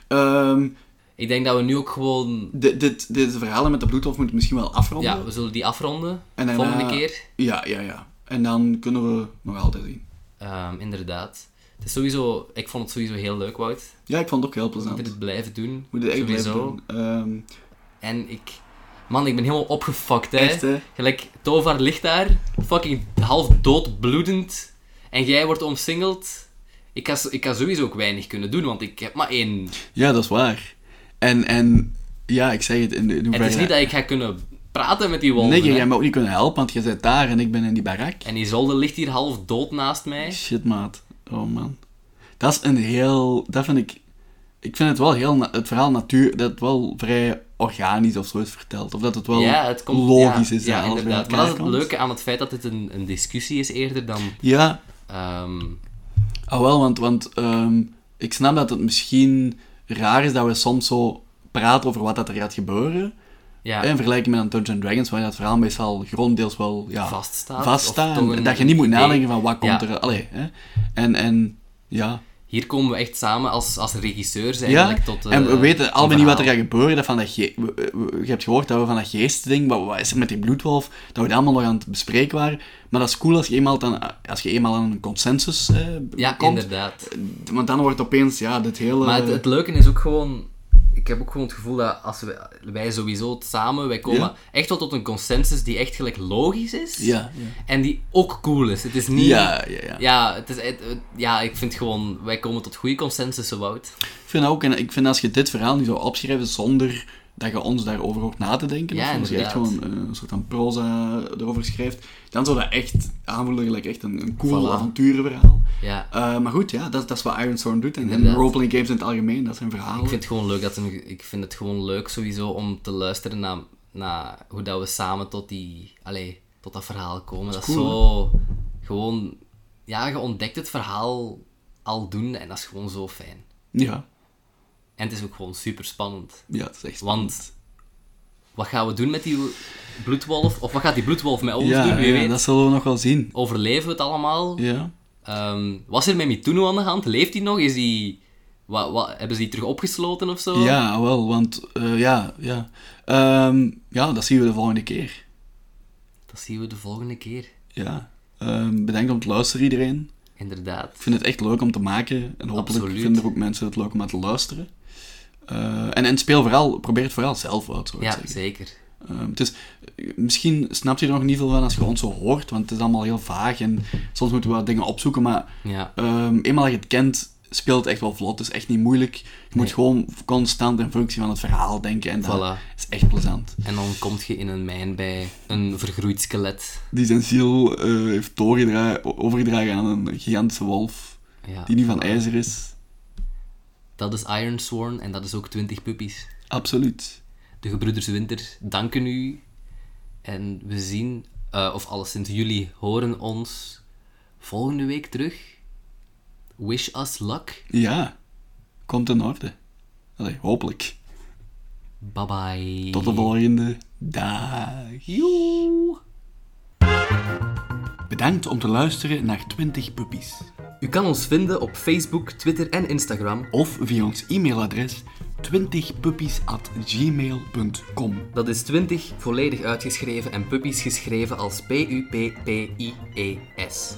S2: Ehm,
S1: Ik denk dat we nu ook gewoon...
S2: dit, dit, dit verhalen met de bloedhof moet misschien wel afronden.
S1: Ja, we zullen die afronden,
S2: En daarna-
S1: volgende keer.
S2: Ja, ja, ja. En dan kunnen we nog altijd zien.
S1: Ehm, inderdaad. Het is sowieso... Ik vond het sowieso heel leuk, Wout.
S2: Ja, ik vond het ook heel
S1: Ik moet
S2: plezant.
S1: dit blijven doen.
S2: Moet het echt blijven
S1: sowieso.
S2: doen. Ehm,
S1: En ik... Man, ik ben helemaal opgefokt, hè.
S2: echt, hè.
S1: Gelijk, Tovar ligt daar, fucking half dood, bloedend. En jij wordt omsingeld. Ik kan, ik kan sowieso ook weinig kunnen doen, want ik heb maar één...
S2: Ja, dat is waar. En, en ja, ik zeg het in de in
S1: Het is niet dat ik ga kunnen praten met die wolven,
S2: Nee, jij
S1: hè.
S2: jij me ook niet kunnen helpen, want je zit daar en ik ben in die barak.
S1: En Isolde ligt hier half dood naast mij.
S2: Shit, maat. Oh, man. Dat is een heel... Dat vind ik... Ik vind het wel heel... na- Het verhaal natuur... Dat het wel vrij organisch of zo is verteld. Of dat het wel
S1: ja, het komt,
S2: logisch
S1: ja,
S2: is. dat
S1: Ja,
S2: alles bij
S1: inderdaad. Maar
S2: elkaar
S1: dat is het
S2: komt.
S1: leuke aan het feit dat dit een, een discussie is eerder dan...
S2: Ja,
S1: ehm,
S2: ah wel, want, want ehm, ik snap dat het misschien raar is dat we soms zo praten over wat dat er gaat gebeuren.
S1: ja,
S2: In vergelijking met een Dungeons Dragons, waarin dat verhaal meestal grondeels wel ja,
S1: vaststaat. of
S2: vaststaat.
S1: toch
S2: en
S1: een-
S2: Dat je niet moet
S1: een idee.
S2: nadenken van wat komt
S1: Ja.
S2: er... Allee, hè? En, en ja...
S1: Hier komen we echt samen als, als regisseurs
S2: Ja,
S1: eigenlijk tot... eh,
S2: en we weten
S1: een
S2: allemaal niet wat er
S1: verhaal.
S2: gaat gebeuren. Dat van dat ge- we- we- je hebt gehoord dat we van dat geestding, wat, wat is er met die bloedwolf, dat we dat allemaal nog aan het bespreken waren. Maar dat is cool als je eenmaal, dan, als je eenmaal aan een consensus eh, b-
S1: Ja,
S2: komt.
S1: inderdaad.
S2: Want dan wordt opeens ja, dit hele...
S1: Maar het, het leuke is ook gewoon... Ik heb ook gewoon het gevoel dat als wij, wij sowieso het samen, wij komen
S2: Ja.
S1: echt wel tot een consensus die echt gelijk logisch is.
S2: ja, ja.
S1: En die ook cool is. Het is niet...
S2: Ja, ja, ja.
S1: Ja, het is, het- het- ja, ik vind gewoon, wij komen tot goede consensussen, Wout.
S2: Ik vind ook, en ik vind als je dit verhaal nu zou opschrijven zonder dat je ons daarover hoort na te denken,
S1: Ja,
S2: of als je echt
S1: inderdaad.
S2: gewoon eh, een soort van proza erover schrijft, dan zou dat echt aanvoelen gelijk echt een, een cool
S1: Voilà.
S2: avonturenverhaal.
S1: Ja.
S2: Eh, maar goed, ja, dat, dat is wat Iron Storm doet. En, en
S1: Inderdaad.
S2: roleplaying games in het algemeen, dat zijn verhalen.
S1: Ik vind het gewoon leuk, dat ze- ik vind het gewoon leuk sowieso om te luisteren naar, naar hoe dat we samen tot, die, allee, tot dat verhaal komen. Dat is, zo... Gewoon... Ja, je ontdekt het verhaal al doen en dat is gewoon zo fijn.
S2: Ja,
S1: En het is ook gewoon super spannend.
S2: ja, het is echt...
S1: Want wat gaan we doen met die bloedwolf? Of wat gaat die bloedwolf met ons
S2: ja,
S1: doen? Wie
S2: ja,
S1: weet.
S2: dat zullen we nog wel zien.
S1: Overleven we het allemaal?
S2: Ja.
S1: Ehm, was er met Mituno aan de hand? Leeft hij nog? Is hij... Wat, wat, hebben ze die terug opgesloten of zo?
S2: Ja, wel, want... eh, ja, ja. Ehm, ja, dat zien we de volgende keer.
S1: Dat zien we de volgende keer.
S2: Ja. Ehm, bedankt om te luisteren, iedereen.
S1: Inderdaad.
S2: Ik vind het echt leuk om te maken. En hopelijk
S1: Absoluut.
S2: vinden er ook mensen het leuk om aan te luisteren. Eh, en, en speel vooral, probeer het vooral zelf uit, zou ik
S1: Ja,
S2: zeggen.
S1: zeker.
S2: Ehm, het is, eh, misschien snapt je er nog niet veel van als je ons zo hoort, want het is allemaal heel vaag en soms moeten we wat dingen opzoeken, maar
S1: Ja.
S2: Ehm, eenmaal dat je het kent, speelt het echt wel vlot. Het is echt niet moeilijk. Je moet
S1: Nee.
S2: gewoon constant in functie van het verhaal denken. En dat
S1: Voilà.
S2: is echt plezant.
S1: En dan kom je in een mijn bij een vergroeid skelet.
S2: Die zijn ziel eh, heeft doorgedra- overgedragen aan een gigantische wolf.
S1: Ja.
S2: Die nu van ijzer is.
S1: Dat is Iron Sworn en dat is ook 20 puppies.
S2: Absoluut.
S1: De Gebroeders Winter danken u. En we zien, eh, of alleszins jullie horen ons volgende week terug. Wish us luck.
S2: Ja. Komt in orde. Allee, hopelijk.
S1: Bye bye.
S2: Tot de volgende dag.
S1: Joe.
S2: Bedankt om te luisteren naar 20 Puppies.
S1: U U kan ons vinden op Facebook, Twitter en Instagram.
S2: Of via ons e-mailadres 20puppies.gmail.com
S1: Dat is 20 volledig E uitgeschreven en puppies geschreven als P-U-P-P-I-E-S.